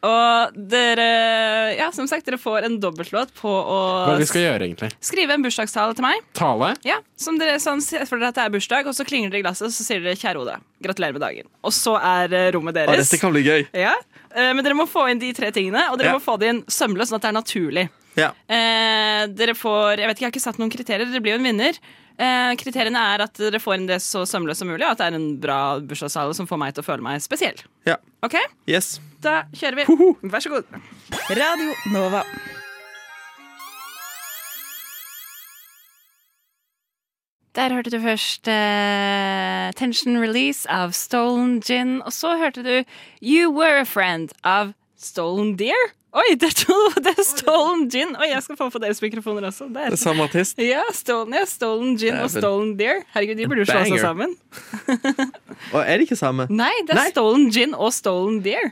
Og dere Ja, som sagt, dere får en dobbeltlåt på å Hva er det vi skal gjøre, egentlig? skrive en bursdagstale til meg. Tale? Ja, som dere sånn, ser for dere at det er bursdag, og så klinger dere i glasset, og så sier dere 'kjære Oda, gratulerer med dagen'. Og så er eh, rommet Å, deres. dette kan bli gøy. Ja, eh, Men dere må få inn de tre tingene, og dere Ja. må få det inn sømløst, sånn at det er naturlig. Ja. Eh, dere får, jeg vet ikke, jeg har ikke satt noen kriterier, dere blir jo en vinner. Eh, kriteriene er at dere får inn det så sømløst som mulig, og at det er en bra bursdagstale som får meg til å føle meg spesiell. Ja. Ok, Yes. da kjører vi. Vær så god. Radio Nova. Der hørte du først eh, Tension Release av Stolen Gin, og så hørte du You Were a Friend av Stolen Deer. Oi, det er, to, det er Stolen Gin! Oi, jeg skal få på deres mikrofoner også. Det Det er samme artist. Ja, Stolen, ja, Stolen Gin og Dæven. Stolen Deer. Herregud, de burde jo slå seg Banger. sammen. Og er det ikke samme? Nei, det er Stolen Gin og Stolen Deer.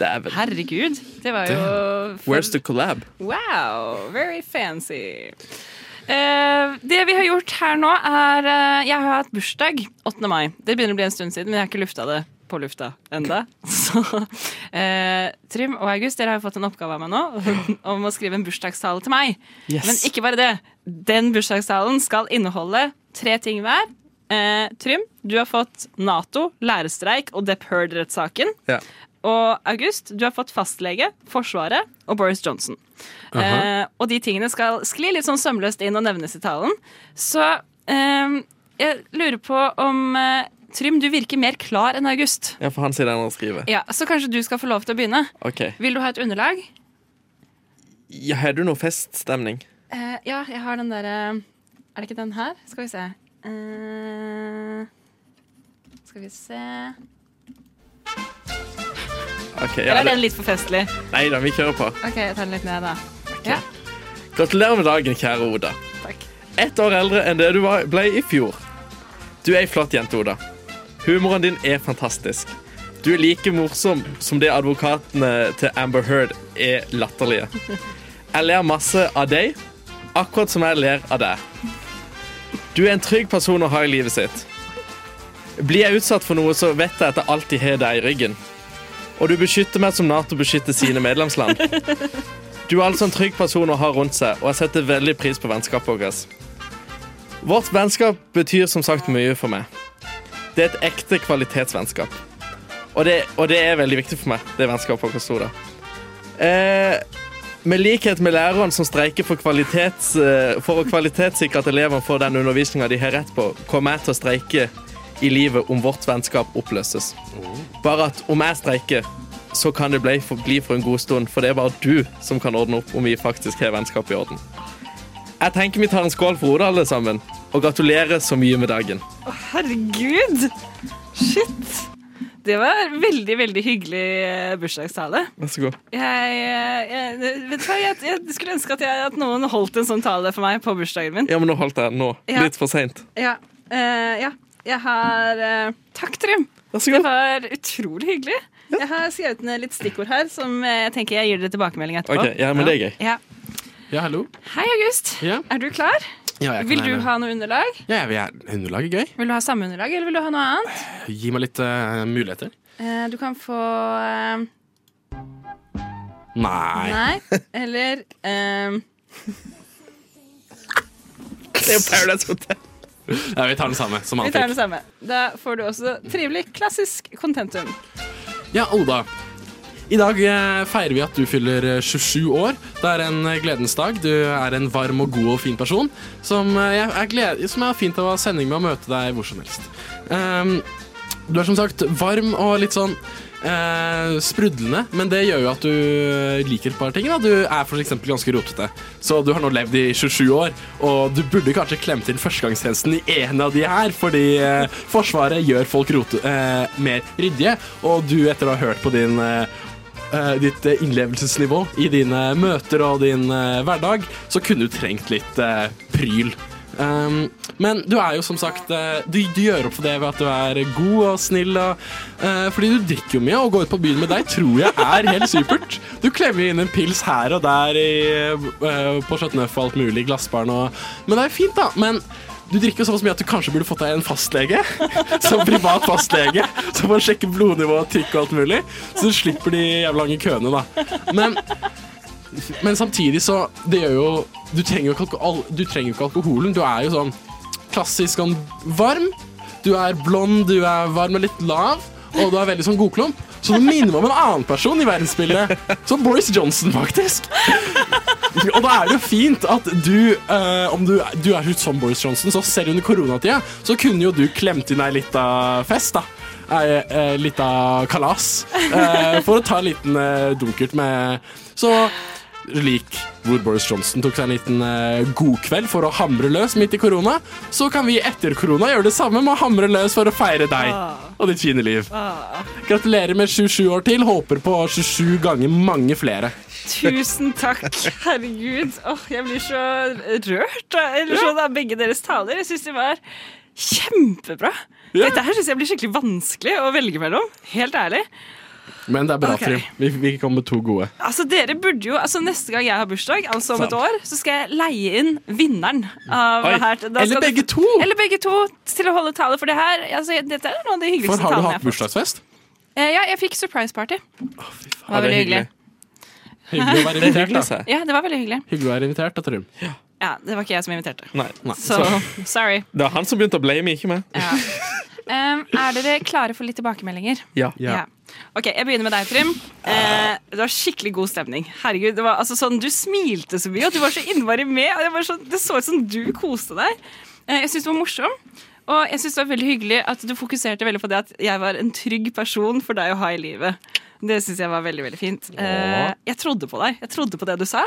Dæven. Herregud, det var jo Where's the collab? Wow, very fancy. Eh, det vi har gjort her nå, er eh, Jeg har hatt bursdag 8. mai. Det begynner å bli en stund siden, men jeg har ikke lufta det på lufta enda. Så eh, Trym og August, dere har jo fått en oppgave av meg nå om å skrive en bursdagstale til meg. Yes. Men ikke bare det. Den bursdagstalen skal inneholde tre ting hver. Eh, Trym, du har fått Nato, lærerstreik og Depp Heard-rettssaken. Ja. Og August, du har fått fastlege, Forsvaret og Boris Johnson. Aha. Eh, og de tingene skal skli litt sånn sømløst inn og nevnes i talen. Så eh, jeg lurer på om eh, Trym, du virker mer klar enn August. Ja, for han sier den og skriver. Ja, Så kanskje du skal få lov til å begynne. OK. Vil du ha et underlag? Ja, har du noe feststemning? Eh, ja, jeg har den derre Er det ikke den her? Skal vi se. Eh, skal vi se Ok, Eller ja, er den litt for festlig? Nei da, vi kjører på. OK, jeg tar den litt ned, da. Ja. Gratulerer med dagen, kjære Oda. Takk. Ett år eldre enn det du var- ble i fjor. Du er ei flott jente, Oda. Humoren din er fantastisk. Du er like morsom som det advokatene til Amber Heard er latterlige. Jeg ler masse av deg, akkurat som jeg ler av deg. Du er en trygg person å ha i livet sitt. Blir jeg utsatt for noe, så vet jeg at jeg alltid har deg i ryggen. Og du beskytter meg som Nato beskytter sine medlemsland. Du er altså en trygg person å ha rundt seg, og jeg setter veldig pris på vennskapet vårt. Vårt vennskap betyr som sagt mye for meg. Det er et ekte kvalitetsvennskap. Og det, og det er veldig viktig for meg, det vennskapet vårt sto der. Eh, med likhet med læreren som streiker for, kvalitets, eh, for å kvalitetssikre at elevene får den undervisninga de har rett på, kommer jeg til å streike i livet om vårt vennskap oppløses. Bare at om jeg streiker, så kan det bli for, bli for en god stund, for det er bare du som kan ordne opp om vi faktisk har vennskap i orden. Jeg tenker vi tar en skål for Oda, alle sammen, og gratulerer så mye med dagen. Å, herregud! Shit! Det var veldig, veldig hyggelig eh, bursdagstale. Vær så god. Jeg, eh, jeg, vet du hva, jeg, jeg skulle ønske at, jeg, at noen holdt en sånn tale for meg på bursdagen min. Ja, men nå holdt jeg den nå. Ja. Litt for seint. Ja. eh, ja. Jeg har eh, Takk, Trym. Det var utrolig hyggelig. Jeg har skrevet ned litt stikkord her som eh, jeg tenker jeg gir dere tilbakemelding etterpå. Ok, ja, men det er gøy. Ja. Ja, hallo. Hei, August. Ja. Er du klar? Ja, jeg kan Vil du gjerne- ha noe underlag? Ja, jeg vil gjerne- Underlag er gøy. Vil du ha samme underlag, eller vil du ha noe annet? Gi meg litt eh, muligheter. Eh, du kan få eh, Nei. Nei. Eller ehm, Det er jo Paradise Hotel. Ja, vi tar den samme som Vi han tar det fikk. samme. Da får du også trivelig klassisk contentum. Ja, Oda. I dag eh, feirer vi at du fyller eh, 27 år. Det er en eh, gledens dag. Du er en varm og god og fin person som eh, jeg er, gled som jeg har fint av å ha sending med og møte deg hvor som helst. Ehm, du er som sagt varm og litt sånn eh, sprudlende, men det gjør jo at du liker et par ting. Da. Du er for eksempel ganske rotete, så du har nå levd i 27 år, og du burde kanskje klemt inn førstegangstjenesten i en av de her, fordi eh, Forsvaret gjør folk rote, eh, mer ryddige, og du etter å ha hørt på din eh, eh, ditt eh, innlevelsesnivå i dine møter og din eh, hverdag, så kunne du trengt litt eh, pryl. Um, men du er jo som sagt eh, du, du gjør opp for det ved at du er god og snill. Og, eh, fordi du drikker jo mye, og å gå ut på byen med deg tror jeg er helt supert. Du klemmer inn en pils her og der i, eh, på Chateauneuf og alt mulig, glassbaren og Men det er fint, da. Men du drikker jo såpass mye at du kanskje burde fått deg en fastlege. Som privat fastlege. Som kan sjekke blodnivå og trykk og alt mulig. Så du slipper de jævla lange køene, da. Men, men samtidig så Det gjør jo Du trenger jo ikke, alkohol, du trenger jo ikke alkoholen. Du er jo sånn klassisk sånn varm. Du er blond, du er varm og litt lav, og du er veldig sånn godklump. Så du minner meg om en annen person i verdensbildet. Som Boris Johnson, faktisk. Og da er det jo fint at du, eh, om du, du er litt som Boris Johnson, så selv under koronatida, så kunne jo du klemt inn ei lita fest, da. Ei ei lita kalas. eh, for å ta en liten eh, dunkert med Så lik hvor Boris Johnson tok seg en liten eh, godkveld for å hamre løs midt i korona, så kan vi etter korona gjøre det samme med å hamre løs for å feire deg og ditt fine liv. Gratulerer med 27 år til. Håper på 27 ganger mange flere. Tusen takk. Herregud. Åh, jeg blir så rørt da. Eller sånn av begge deres taler. Jeg syns de var kjempebra. Dette her syns jeg blir skikkelig vanskelig å velge mellom. Helt ærlig. Men det er bra, Ok. Trym. Vi, vi kom med to gode. Altså, dere burde jo, altså Neste gang jeg har bursdag, altså om et Sant. år, så skal jeg leie inn vinneren. av Oi. det her. Eller skal du- begge to! Eller begge to til å holde tale for det her. Altså, dette er noen av de hyggeligste For har du talene jeg hatt bursdagsfest? Eh, Ja, jeg fikk surprise party. det var Ja, det veldig er hyggelig. Hyggelig å være Det er invitert, da. Ja, det var veldig hyggelig. Hyggelig å være invitert, da, Trym. Ja, Det var ikke jeg som inviterte. Nei, Så sorry. Det er han som begynte å blame, ikke meg. Um, er dere klare for litt tilbakemeldinger? Ja. Ja. Ok, Jeg begynner med deg, Trym. Eh, det var skikkelig god stemning. Herregud, det var altså sånn, Du smilte så mye, og du var så innmari med. Og det, var sånn, det så ut som du koste deg. Eh, jeg syns du var morsom. Og jeg synes det var veldig hyggelig at du fokuserte veldig på det at jeg var en trygg person for deg å ha i livet. Det syns jeg var veldig veldig fint. Eh, jeg trodde på deg. Jeg trodde på det du sa.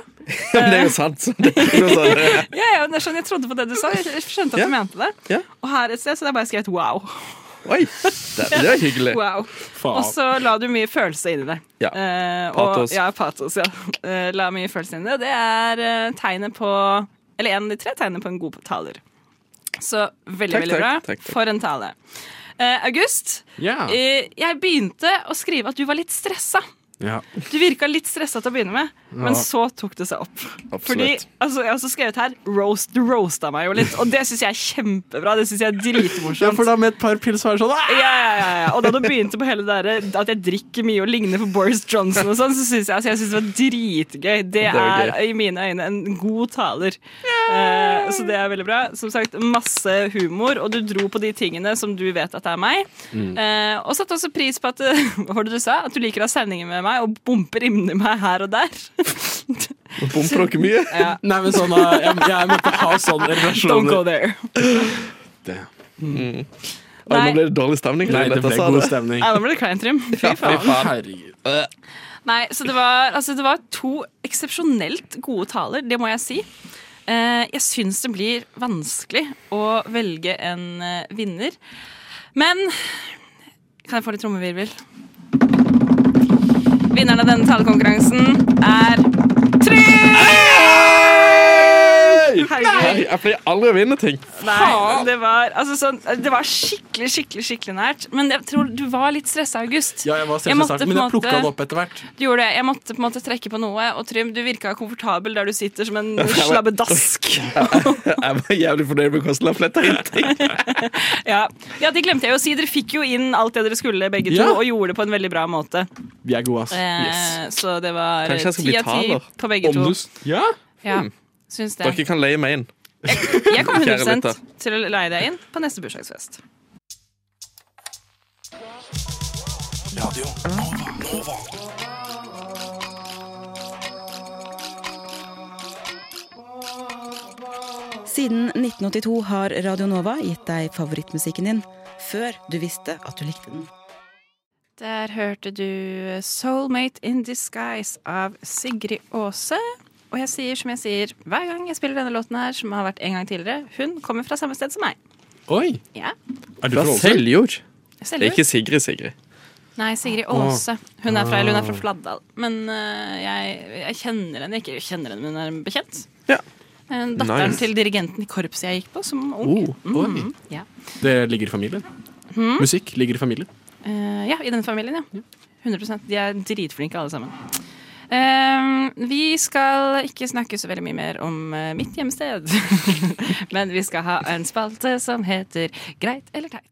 Ja, men det er jo sant. så Det er jo sånn, eh, Ja, ja, det er sånn, jeg trodde på det du sa. Jeg jeg skjønte at Ja. du mente det. Ja. Og her et sted så det er bare skrevet 'wow'. Oi, det, det var hyggelig. Wow. Faen. Og så la du mye følelse inn i det. Ja. Eh, Patos. Og, ja, patos, ja. Eh, la mye følelse inn i det. Og det er eh, tegnet på Eller en av de tre tegnene på en god taler. Så veldig, Takk, veldig takk, bra. takk, takk. For en tale. Eh, August, Ja. eh, jeg begynte å skrive at du var litt stressa. Ja. Du virka litt stressa til å begynne med, men Ja. så tok det seg opp. Absolutt. Fordi, altså, Jeg har også skrevet her roast, Du roasta meg jo litt, og det syns jeg er kjempebra. Det synes jeg er dritmorsomt. Ja, for da med et par pils var det sånn Ja, ja, ja, ja. Og da du begynte på hele det der at jeg drikker mye og ligner på Boris Johnson og sånn, så syns jeg, altså, jeg synes det var dritgøy. Det, Det var er gøy. i mine øyne en god taler. Eh, så det er veldig bra. Som sagt, masse humor, og du dro på de tingene som du vet at er meg. Mm. Eh, og satte også pris på at, hva var det du sa? at du liker å ha sendinger med meg og bumper inni meg her og der. Bomper dere mye? Ja. Nei, men sånn eh, Jeg, jeg må ikke ha sånne relasjoner. Don't go there. Mm. Oi, Nei. nå ble det dårlig stemning. Nei, det Dette ble sa god det. stemning. Ja, nå ble det kleint, Trym. Fy faen. Herregud. Nei, så det var, altså, det var to eksepsjonelt gode taler, det må jeg si. Eh, jeg syns det blir vanskelig å velge en eh, vinner. Men Kan jeg få litt trommevirvel? Vinneren av denne talekonkurransen er Trym! Nei, jeg pleier aldri å vinne ting. Nei, det var, altså sånn, det var skikkelig, skikkelig skikkelig nært. Men jeg tror du var litt stressa, August. Ja, jeg var Jeg stresset i måtte starten, på men jeg en måte- plukka det opp etter hvert. Du gjorde det. Jeg måtte på en måte trekke på noe. Og Trym, du virka komfortabel der du sitter som en slabbedask. Jeg var jævlig fornøyd med hvordan jeg fletta inn ting. Ja. ja, det glemte jeg å si. Dere fikk jo inn alt det dere skulle, begge to, Ja. og gjorde det på en veldig bra måte. Vi er gode, ass. Eh, Så det var Kanskje jeg skal ti bli av ti taler. på begge to. Ombuds- Ja? Ja, Hmm. syns det. Dere kan leie meg inn. Jeg kommer Kjære 100 lytter. til å leie deg inn på neste bursdagsfest. Siden 1982 har Radio Nova gitt deg favorittmusikken din før du visste at du likte den. Der hørte du 'Soulmate in Disguise' av Sigrid Aase. Og jeg sier som jeg sier hver gang jeg spiller denne låten her, som har vært en gang tidligere, hun kommer fra samme sted som meg. Oi! Ja. Er du fra fra Ålesund? Seljord? Seljord? Det er ikke Sigrid, Sigrid. Nei, Sigrid Åh. Aase. Hun er fra, eller hun er fra Ah. Fladdal. Men øh, jeg, jeg kjenner henne ikke. Jeg kjenner henne, men hun er en bekjent. Eh, Datteren Nice. til dirigenten i korpset jeg gikk på som ung. Oh, oi. Mhm, ja. Det ligger i familien. Mhm. Musikk ligger i familien. Eh, ja, i denne familien, ja. 100 De er dritflinke, alle sammen. Eh, vi skal ikke snakke så veldig mye mer om eh, mitt hjemsted. Men vi skal ha en spalte som heter Greit eller teit.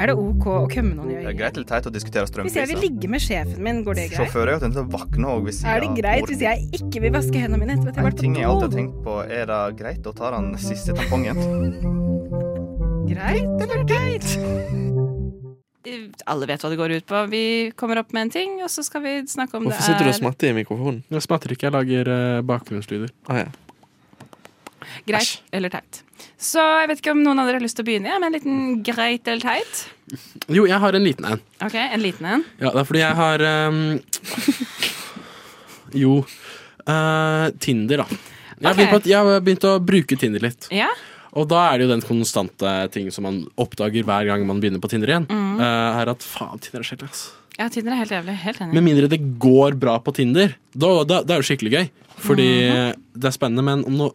Er det OK å kømme noen i Det er greit eller teit å diskutere Hvis jeg strømpriser. vil ligge med sjefen min, går det greit? Sjåfører er jo tenkt å våkne òg hvis Er det greit hvis jeg ikke vil vaske hendene mine etter at jeg En har vært ting jeg alltid har på do? tenkt på, er det greit å ta den siste tampongen? Greit eller teit? Alle vet hva det går ut på. Vi kommer opp med en ting, og så skal vi snakke om Hvorfor det sitter du og er smatter i mikrofonen? Jeg smatter ikke, jeg lager eh, bakgrunnslyder. Ah, ja. greit eller teit. Så jeg vet ikke om noen av dere har lyst til å begynne ja, med en liten greit eller teit. Jo, jeg har en liten en. Ok, En liten en. Ja, det er fordi jeg har ehm, Jo. eh, Tinder, da. Jeg har, Ok. begynt på at jeg har begynt å bruke Tinder litt. Ja? Og da er det jo den konstante ting som man oppdager hver gang man begynner på Tinder igjen. Mhm. eh, er at faen, Tinder er kjedelig, ass. ja, Tinder er helt jævlig. Helt enig. Med mindre det går bra på Tinder. Da, da, det er jo skikkelig gøy. Fordi Mhm. det er spennende, men om no,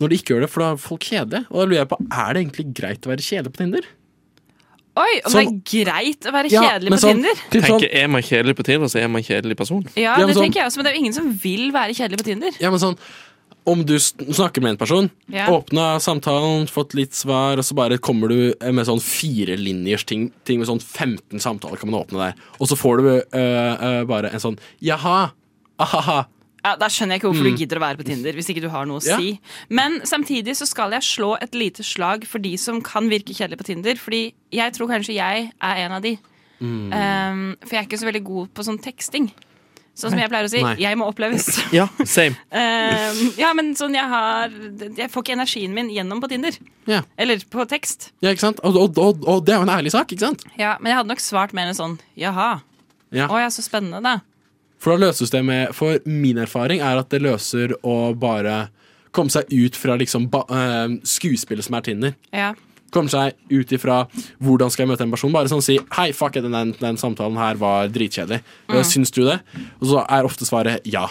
når de ikke gjør det, for da er folk kjedelige. Og da lurer jeg på, er det egentlig greit å være kjedelig på Tinder? Oi, om Sånn- det er greit å være Ja, kjedelig men på sånn- Tinder? Tenker, Er man kjedelig på Tinder, så er man en kjedelig person. Ja, Ja, men det sånn- tenker jeg også, men det er jo ingen som vil være kjedelig på Tinder. Ja, men sånn, om du s- snakker med en person, Ja. åpna samtalen, fått litt svar, og så bare kommer du med sånn firelinjers ting, ting med sånn 15 samtaler kan man åpne der, og så får du øh, øh, bare en sånn jaha, ahaha. Ja, Da skjønner jeg ikke hvorfor Mm. du gidder å være på Tinder hvis ikke du har noe å Ja. si. Men samtidig så skal jeg slå et lite slag for de som kan virke kjedelige på Tinder, fordi jeg tror kanskje jeg er en av de. Mm. Um, for jeg er ikke så veldig god på sånn teksting. Sånn som Nei. jeg pleier å si. Nei. Jeg må oppleves. Ja, same. Um, ja, men sånn jeg har Jeg får ikke energien min gjennom på Tinder. Ja. Eller på tekst. Ja, ikke sant? Og, og, og, og det er jo en ærlig sak, ikke sant? Ja, Men jeg hadde nok svart mer enn sånn jaha. Ja. Å ja, så spennende, da. For da løses det med For min erfaring er at det løser å bare komme seg ut fra liksom ba, øh, skuespillet som er Tinder. Ja. Komme seg ut ifra hvordan skal jeg møte en person. Bare sånn si 'hei, fuck it, den, den samtalen her var dritkjedelig'. Mm. Syns du det? Og så er ofte svaret ja.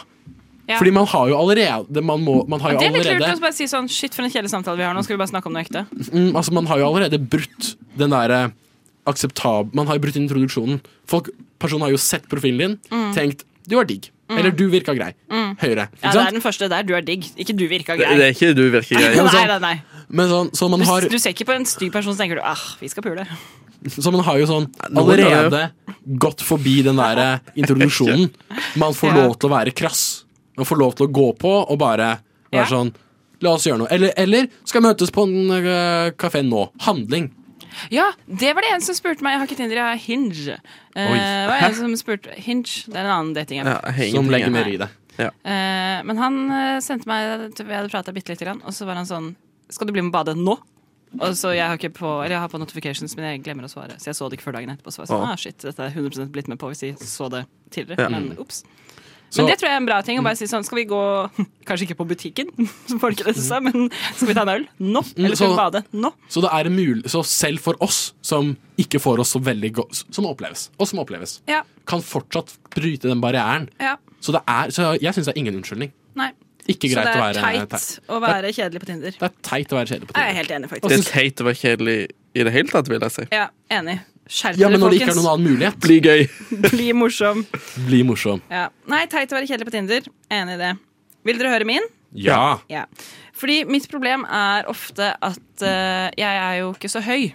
Ja. Fordi man har jo allerede Man, må, man har jo det er litt lurt å allerede bare si sånn shit for en kjedelig samtale vi har nå, skal vi bare snakke om noe ekte? mm, Altså man har jo allerede brutt den derre akseptab... Man har jo brutt introduksjonen. Folk, personen har jo sett profilen din, Mm. tenkt 'du var digg', Mm. eller 'du virka grei'. Mm. Høyre. Ikke Ja, det sant? er den første der. Du er digg. Ikke du virka Det, grei. det er ikke du virker grei. nei, nei, nei. Men sånn, så man Du, har du ser ikke på en stygg person så tenker du ah, vi skal pule. Så man har jo sånn noen er jo- allerede gått forbi den der introduksjonen. Man får Ja. lov til å være krass. Man får lov til å gå på og bare være Ja. sånn La oss gjøre noe. Eller, eller skal møtes på en øh, kafé nå. Handling. Ja, det var det en som spurte meg. Jeg har ikke Tinder, jeg har Hinge. Eh, Oi. det var en som spurte Hinge, det er en annen datingapp. som legger mer i det. Eh, men han eh, sendte meg Vi hadde prata bitte litt, og så var han sånn Skal du bli med og bade nå? Og så jeg har ikke på Eller jeg har på notifications, men jeg glemmer å svare. Så jeg så det ikke før dagen etterpå. Så var jeg sånn, Å. ah, shit, dette er 100 blitt med på hvis jeg så det tidligere. Ja. Mm. Men ops. Så- Men det tror jeg er en bra ting. Å bare si sånn Skal vi gå Kanskje ikke på butikken, som folk redder seg, men skal vi ta en øl nå? Eller skal Mm, så- vi bade nå? Så det er en mul så selv for oss som ikke får oss så veldig godt Som oppleves, og som oppleves, Ja. kan fortsatt bryte den barrieren. ja Så, det er, så jeg syns det er ingen unnskyldning. nei. Ikke greit å Så være det er teit å være kjedelig på Tinder. Det er teit å være kjedelig på Jeg er helt enig, Det er faktisk. teit å være kjedelig i det hele tatt, vil jeg si. Ja, enig. Skjerp Ja, dere, men når det ikke er folkens. noen annen mulighet Bli gøy. Bli morsom. Bli morsom. Ja. Nei, teit å være kjedelig på Tinder. Enig i det. Vil dere høre min? Ja. Ja. Fordi mitt problem er ofte at eh, jeg er jo ikke så høy.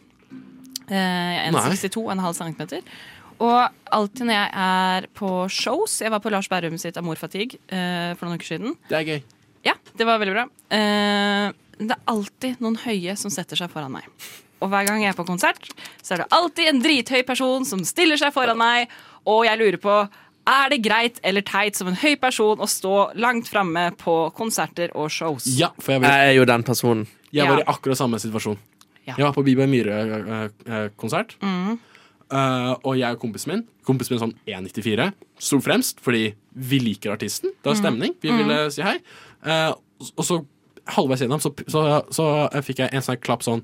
Eh, jeg Nei. er 1,62,5 cm. Og alltid når jeg er på shows Jeg var på Lars Berrum sitt Amorfatigue uh, for noen uker siden. Det er gøy. Ja, det var veldig bra. Eh, det er alltid noen høye som setter seg foran meg. Og hver gang jeg er på konsert, så er det alltid en drithøy person som stiller seg foran meg, og jeg lurer på er det greit eller teit som en høy person å stå langt framme på konserter og shows? Ja, for jeg, var- Jeg er jo den personen. jeg var Ja. i akkurat samme situasjon. Ja. Jeg var på eh, Biba Myhre-konsert, Mm. Eh, og jeg og kompisen min Kompisen min sånn 1,94 sto fremst fordi vi liker artisten. Det var Mm. stemning. Vi Mm. ville si hei. Eh, og så halvveis gjennom så, så, så fikk jeg en sånn klapp sånn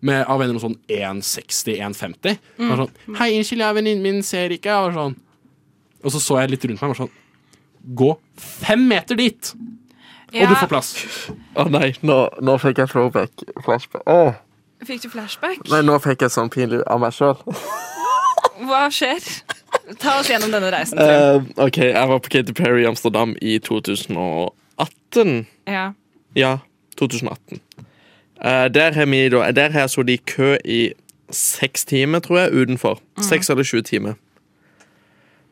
med, av en eller annen sånn 1,60-1,50. Mm. Sånn, 'Hei, unnskyld, jeg er venninnen min, ser ikke.' Jeg var sånn. Og så så jeg litt rundt meg og var sånn Gå fem meter dit, og du Ja. får plass. Å nei, nå, nå fikk jeg throwback. Flashback. Åh. Fikk du flashback? Nei, nå fikk jeg sånn pinlig av meg sjøl. Hva skjer? Ta oss gjennom denne reisen. Trym. Um, OK, jeg var på Katy Perry i Amsterdam i 2018. Ja. Ja, 2018. Eh, der har vi da Der har jeg sittet i kø i seks timer, tror jeg, utenfor. Seks eller sju timer.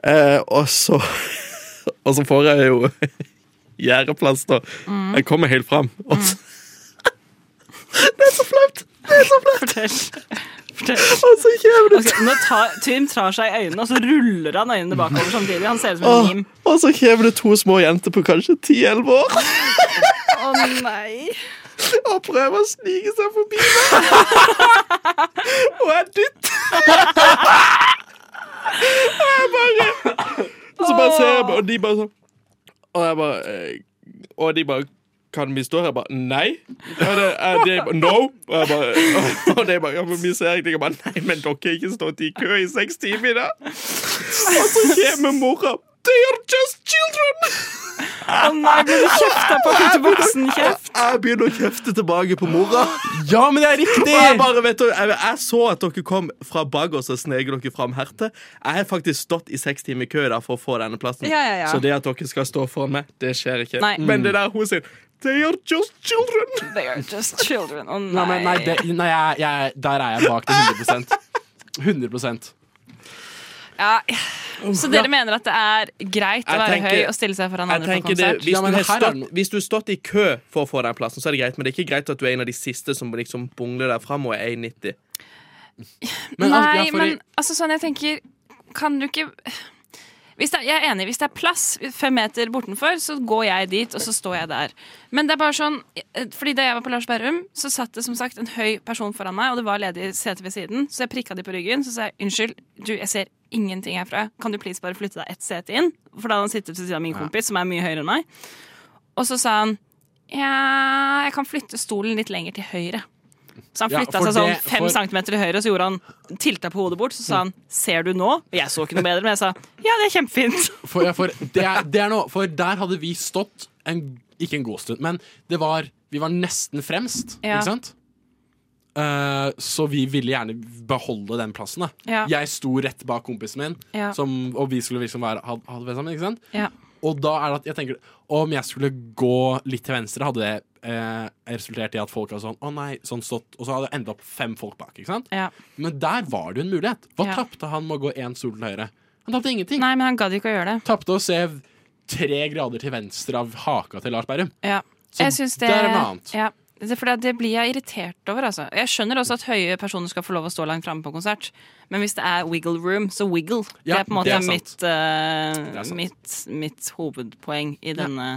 Eh, og så Og så får jeg jo gjerdeplass, da. Mm. Jeg kommer helt fram. Og så, Det er så flaut! Det er så flaut! Fortell. Fortell. Ok, nå tar, Trym tar seg i øynene, og så ruller han øynene bakover samtidig. Han ser ut som en Åh, meme. og så kommer det to små jenter på kanskje 10-11 år Å nei. og prøver å snike seg forbi meg. og jeg dytter. og jeg bare Og så bare ser jeg på, og de bare sånn Og jeg bare eh, Og de bare Kan vi stå her? Jeg bare Nei. Og det, jeg, de bare äh, No. äh, oh, Og jeg bare Og de bare ja, men Vi ser ingenting. Jeg bare Nei, men dere har ikke stått i kø i seks timer i dag. Og så kommer mora. They are just children! Å nei, ble du kjefta på? Fikk du voksenkjeft? jeg begynner å kjefte tilbake på mora. Ja, men det er riktig! Og jeg, bare, vet du, jeg, jeg så at dere kom fra bak oss og snek dere fram her til. Jeg har faktisk stått i seks timer i kø der for å få denne plassen. Ja, ja, ja. Så det at dere skal stå foran meg, det skjer ikke. Nei. Men det der hun sier They are just children! They are just children. Å Nei, nei. men nei, det, nei jeg, jeg, der er jeg bak det 100 100 Ja. Så dere mener at det er greit å Jeg være tenker- høy og stille seg foran Jeg andre på tenker det, konsert? hvis, du har stått, hvis du har stått i kø for å få den plassen, så er det greit. Men det er ikke greit at du er en av de siste som liksom bongler der fram og er 1,90. Men, Nei, altså, ja, fordi- men altså sånn jeg tenker Kan du ikke hvis det, er- Jeg er enig, hvis det er plass fem meter bortenfor, så går jeg dit, og så står jeg der. Men det er bare sånn eh, Fordi da jeg var på Lars Berrum, så satt det som sagt en høy person foran meg, og det var ledig sete ved siden, så jeg prikka de på ryggen, så sa jeg unnskyld, du, jeg ser ingenting herfra, kan du please bare flytte deg ett sete inn? For da hadde han sittet ved siden av min Ja. kompis, som er mye høyere enn meg. Og så sa han ja, jeg kan flytte stolen litt lenger til høyre. Så han Ja, flytta for seg sånn det- fem for- centimeter til høyre, og så gjorde han tilta på hodet bort. Så sa han 'ser du nå?' Og jeg så ikke noe bedre, men jeg sa 'ja, det er kjempefint'. For, ja, for, det er, det er noe, for der hadde vi stått en, Ikke en god stund, men det var, vi var nesten fremst. Ja. Ikke sant? Eh, så vi ville gjerne beholde den plassen. Da. Ja. Jeg sto rett bak kompisen min, Ja. som, og vi skulle liksom være, ha, ha det sammen. Ikke sant? Ja. Og da er det at jeg tenker Om jeg skulle gå litt til venstre, hadde det eh, resultert i at folk hadde sånn Å nei, sånn stått Og så hadde det enda opp fem folk bak. Ikke sant? Ja. Men der var det jo en mulighet. Hva Ja. tapte han med å gå én stol til høyre? Han tapte ingenting. Nei, men han gadd ikke å gjøre det. Tapte å se tre grader til venstre av haka til Lars Berrum. Ja. Så jeg syns det, det er noe annet. Ja. Det, for det, det blir jeg irritert over, altså. Jeg skjønner også at høye personer skal få lov å stå langt framme på konsert, men hvis det er wiggle room, så wiggle. Ja, det er på en måte det er sant. mitt, eh, Det er sant. mitt, mitt hovedpoeng i denne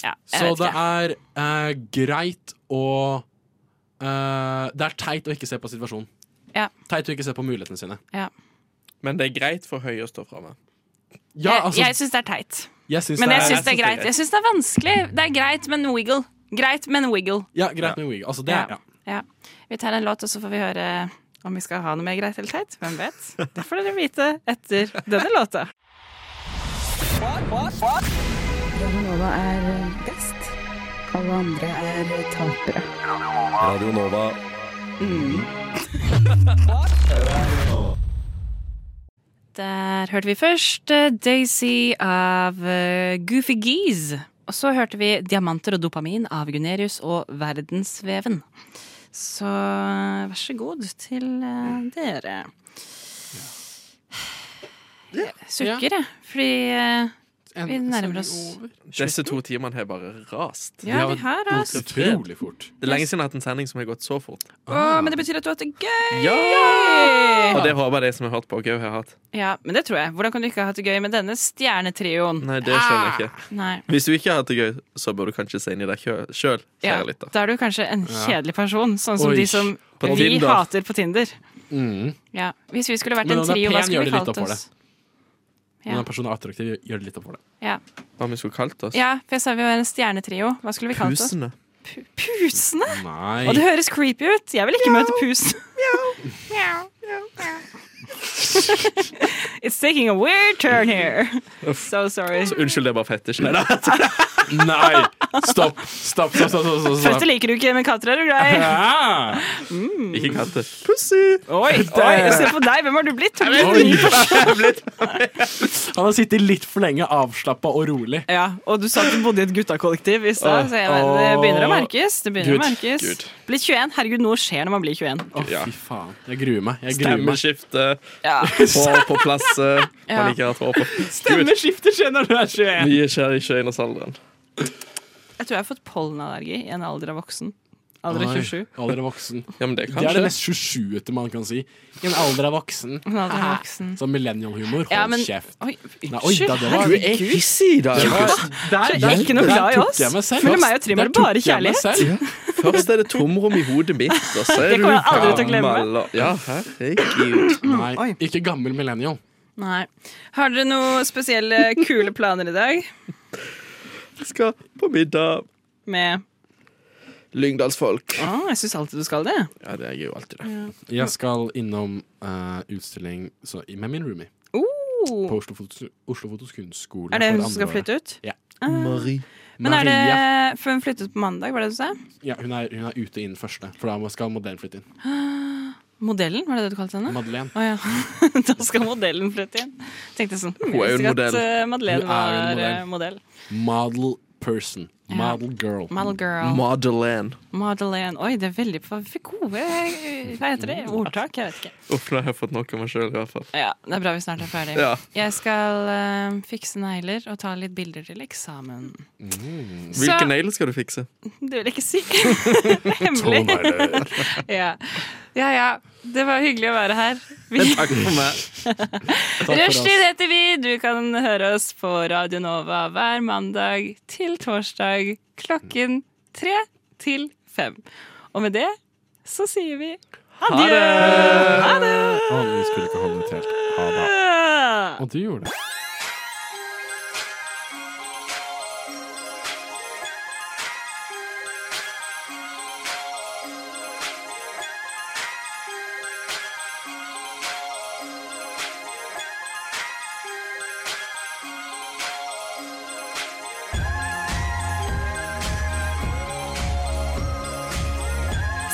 Ja, jeg Så vet det ikke. er eh, greit å eh, Det er teit å ikke se på situasjonen. Ja. Teit å ikke se på mulighetene sine. Ja. Men det er greit for høye å stå framme. Ja, Jeg- altså- jeg syns det er teit. Jeg syns men det jeg er- syns det er greit. Jeg syns det er vanskelig. Det er greit, men wiggle. Greit, men wiggle. Ja, greit med wig. Altså, det er ja. Ja. Vi tar en låt, og så får vi høre om vi skal ha noe mer greit eller teit. Hvem vet? Det får dere vite etter denne låta. Radionova er eh, best. Alle andre er tapere. Radio Nova. Der hørte vi først eh, Daisy av eh, Goofy Geese. Og så hørte vi Diamanter og dopamin av Gunerius og Verdensveven. Så eh, vær så god til eh, dere. Jeg Sukker, jeg. Fordi eh, vi nærmer oss Disse to timene har bare rast. Ja, de har rast. Utrolig fort. Det er lenge siden jeg har hatt en sending som har gått så fort. Å, men det betyr at du har hatt det gøy! Ja! Og det håper jeg de som har hørt på, også har hatt. Ja, men det tror jeg. Hvordan kan du ikke ha hatt det gøy med denne stjernetrioen? Nei, det skjønner jeg ikke. Nei. Hvis du ikke har hatt det gøy, så bør du kanskje se inn i deg sjøl, Ja, kjære lytter. da er du kanskje en Ja. kjedelig person, sånn som Oi, de som på vi Tinder. hater på Tinder. Mm. Ja. Hvis vi skulle vært Men en om det er trio, hva pen, skulle gjør vi det litt kalt opp for oss? Når Ja. en person er attraktiv, gjør det litt opp for det. Ja. Hva om vi skulle kalt oss? ja, for jeg sa vi var en stjernetrio. Hva skulle vi kalt oss? Pusene. Pu- Pusene? Nei. Og det høres creepy ut. Jeg vil ikke møte pus. It's taking a weird turn here. So sorry. Så unnskyld, det er bare fetisj. Nei da. Nei! Stopp! Stopp, stopp, stopp, stopp, stopp, stopp. Føtter liker du ikke, men katter er du glad i. Ja. Mm. Ikke katter. Pussy! Oi, Oi, jeg ser på deg. Hvem har du blitt? Har du blitt en ny Han har sittet litt for lenge avslappa og rolig. Ja, og du sa at du bodde i et guttakollektiv i stad, Åh. så jeg mener, det begynner å Åh. merkes. Det begynner Gud, å merkes. Gud. Blitt 21. Herregud, noe skjer når man blir 21. Å, fy faen. Jeg gruer meg. Jeg gruer meg. Stemmeskifte, Ja. hår på plass eh, Ja. man ikke har hatt hår på. Stemmeskiftet skjer når du er 21. Mye skjer i 21-årsalderen. Jeg tror jeg har fått pollenallergi i en alder av voksen. Alder av Nei, 27. Alder av voksen. Ja, men det, Det er det mest 27-ete man kan si. I en alder av voksen. En alder av voksen. Sånn millennial-humor. Hold Ja, men- kjeft. Oi, Nei, oi, da, det var herregud. Du er hissig i dag, August. Der, der, ikke noe Der glad i tok oss. jeg meg selv. Føler meg og Trim Der er det tok bare jeg meg selv. kjærlighet. Først er det tomrom i hodet mitt, og så er Det kommer jeg aldri til å glemme. gammel, og- Ja, herregud. Nei, ikke gammel millennial. Nei. Har dere noen spesielle kule planer i dag? Jeg skal på middag. Med Lyngdalsfolk. Å, jeg syns alltid du skal det. Ja, det er jo alltid det. Jeg skal innom eh, utstilling så, med min roomie Oh. på Oslo Fotos, Oslo Fotos kunstskole. Er det hun for som skal andre året. flytte ut? Ja. Ah. Marie. Men er det Maria. For hun flyttet på mandag, var det det du sa? Ja, hun er, hun er ute innen første, for da må- skal modellen flytte inn. Modellen, var det det du kalte henne? Madeleine. Å ja. da skal modellen flytte inn. Tenkte sånn hm, Hun er jo en jeg visste ikke at, modell. eh, Madeleine Hun er var jo en eh, modell. modell. Model person. Model girl. Model girl. Madeleine. Madeleine. Oi, det er veldig Hva gode Hva heter det? Ordtak? Jeg vet ikke. Uff, nå har jeg fått nok av meg sjøl, i hvert fall. Ja, Det er bra vi snart er ferdig. Ja. Jeg skal eh, fikse negler og ta litt bilder til eksamen. Hvilke Så- negler skal du fikse? Det vil jeg ikke si. Hemmelig. Tånegler. ja. ja ja, det var hyggelig å være her. Takk for meg. for oss. Rushtid heter vi. Du kan høre oss på Radio Nova hver mandag til torsdag klokken tre til fem. Og med det så sier vi adjø! Ha det! Å, vi skulle ikke holde ut helt. Ha det. Og du gjorde det.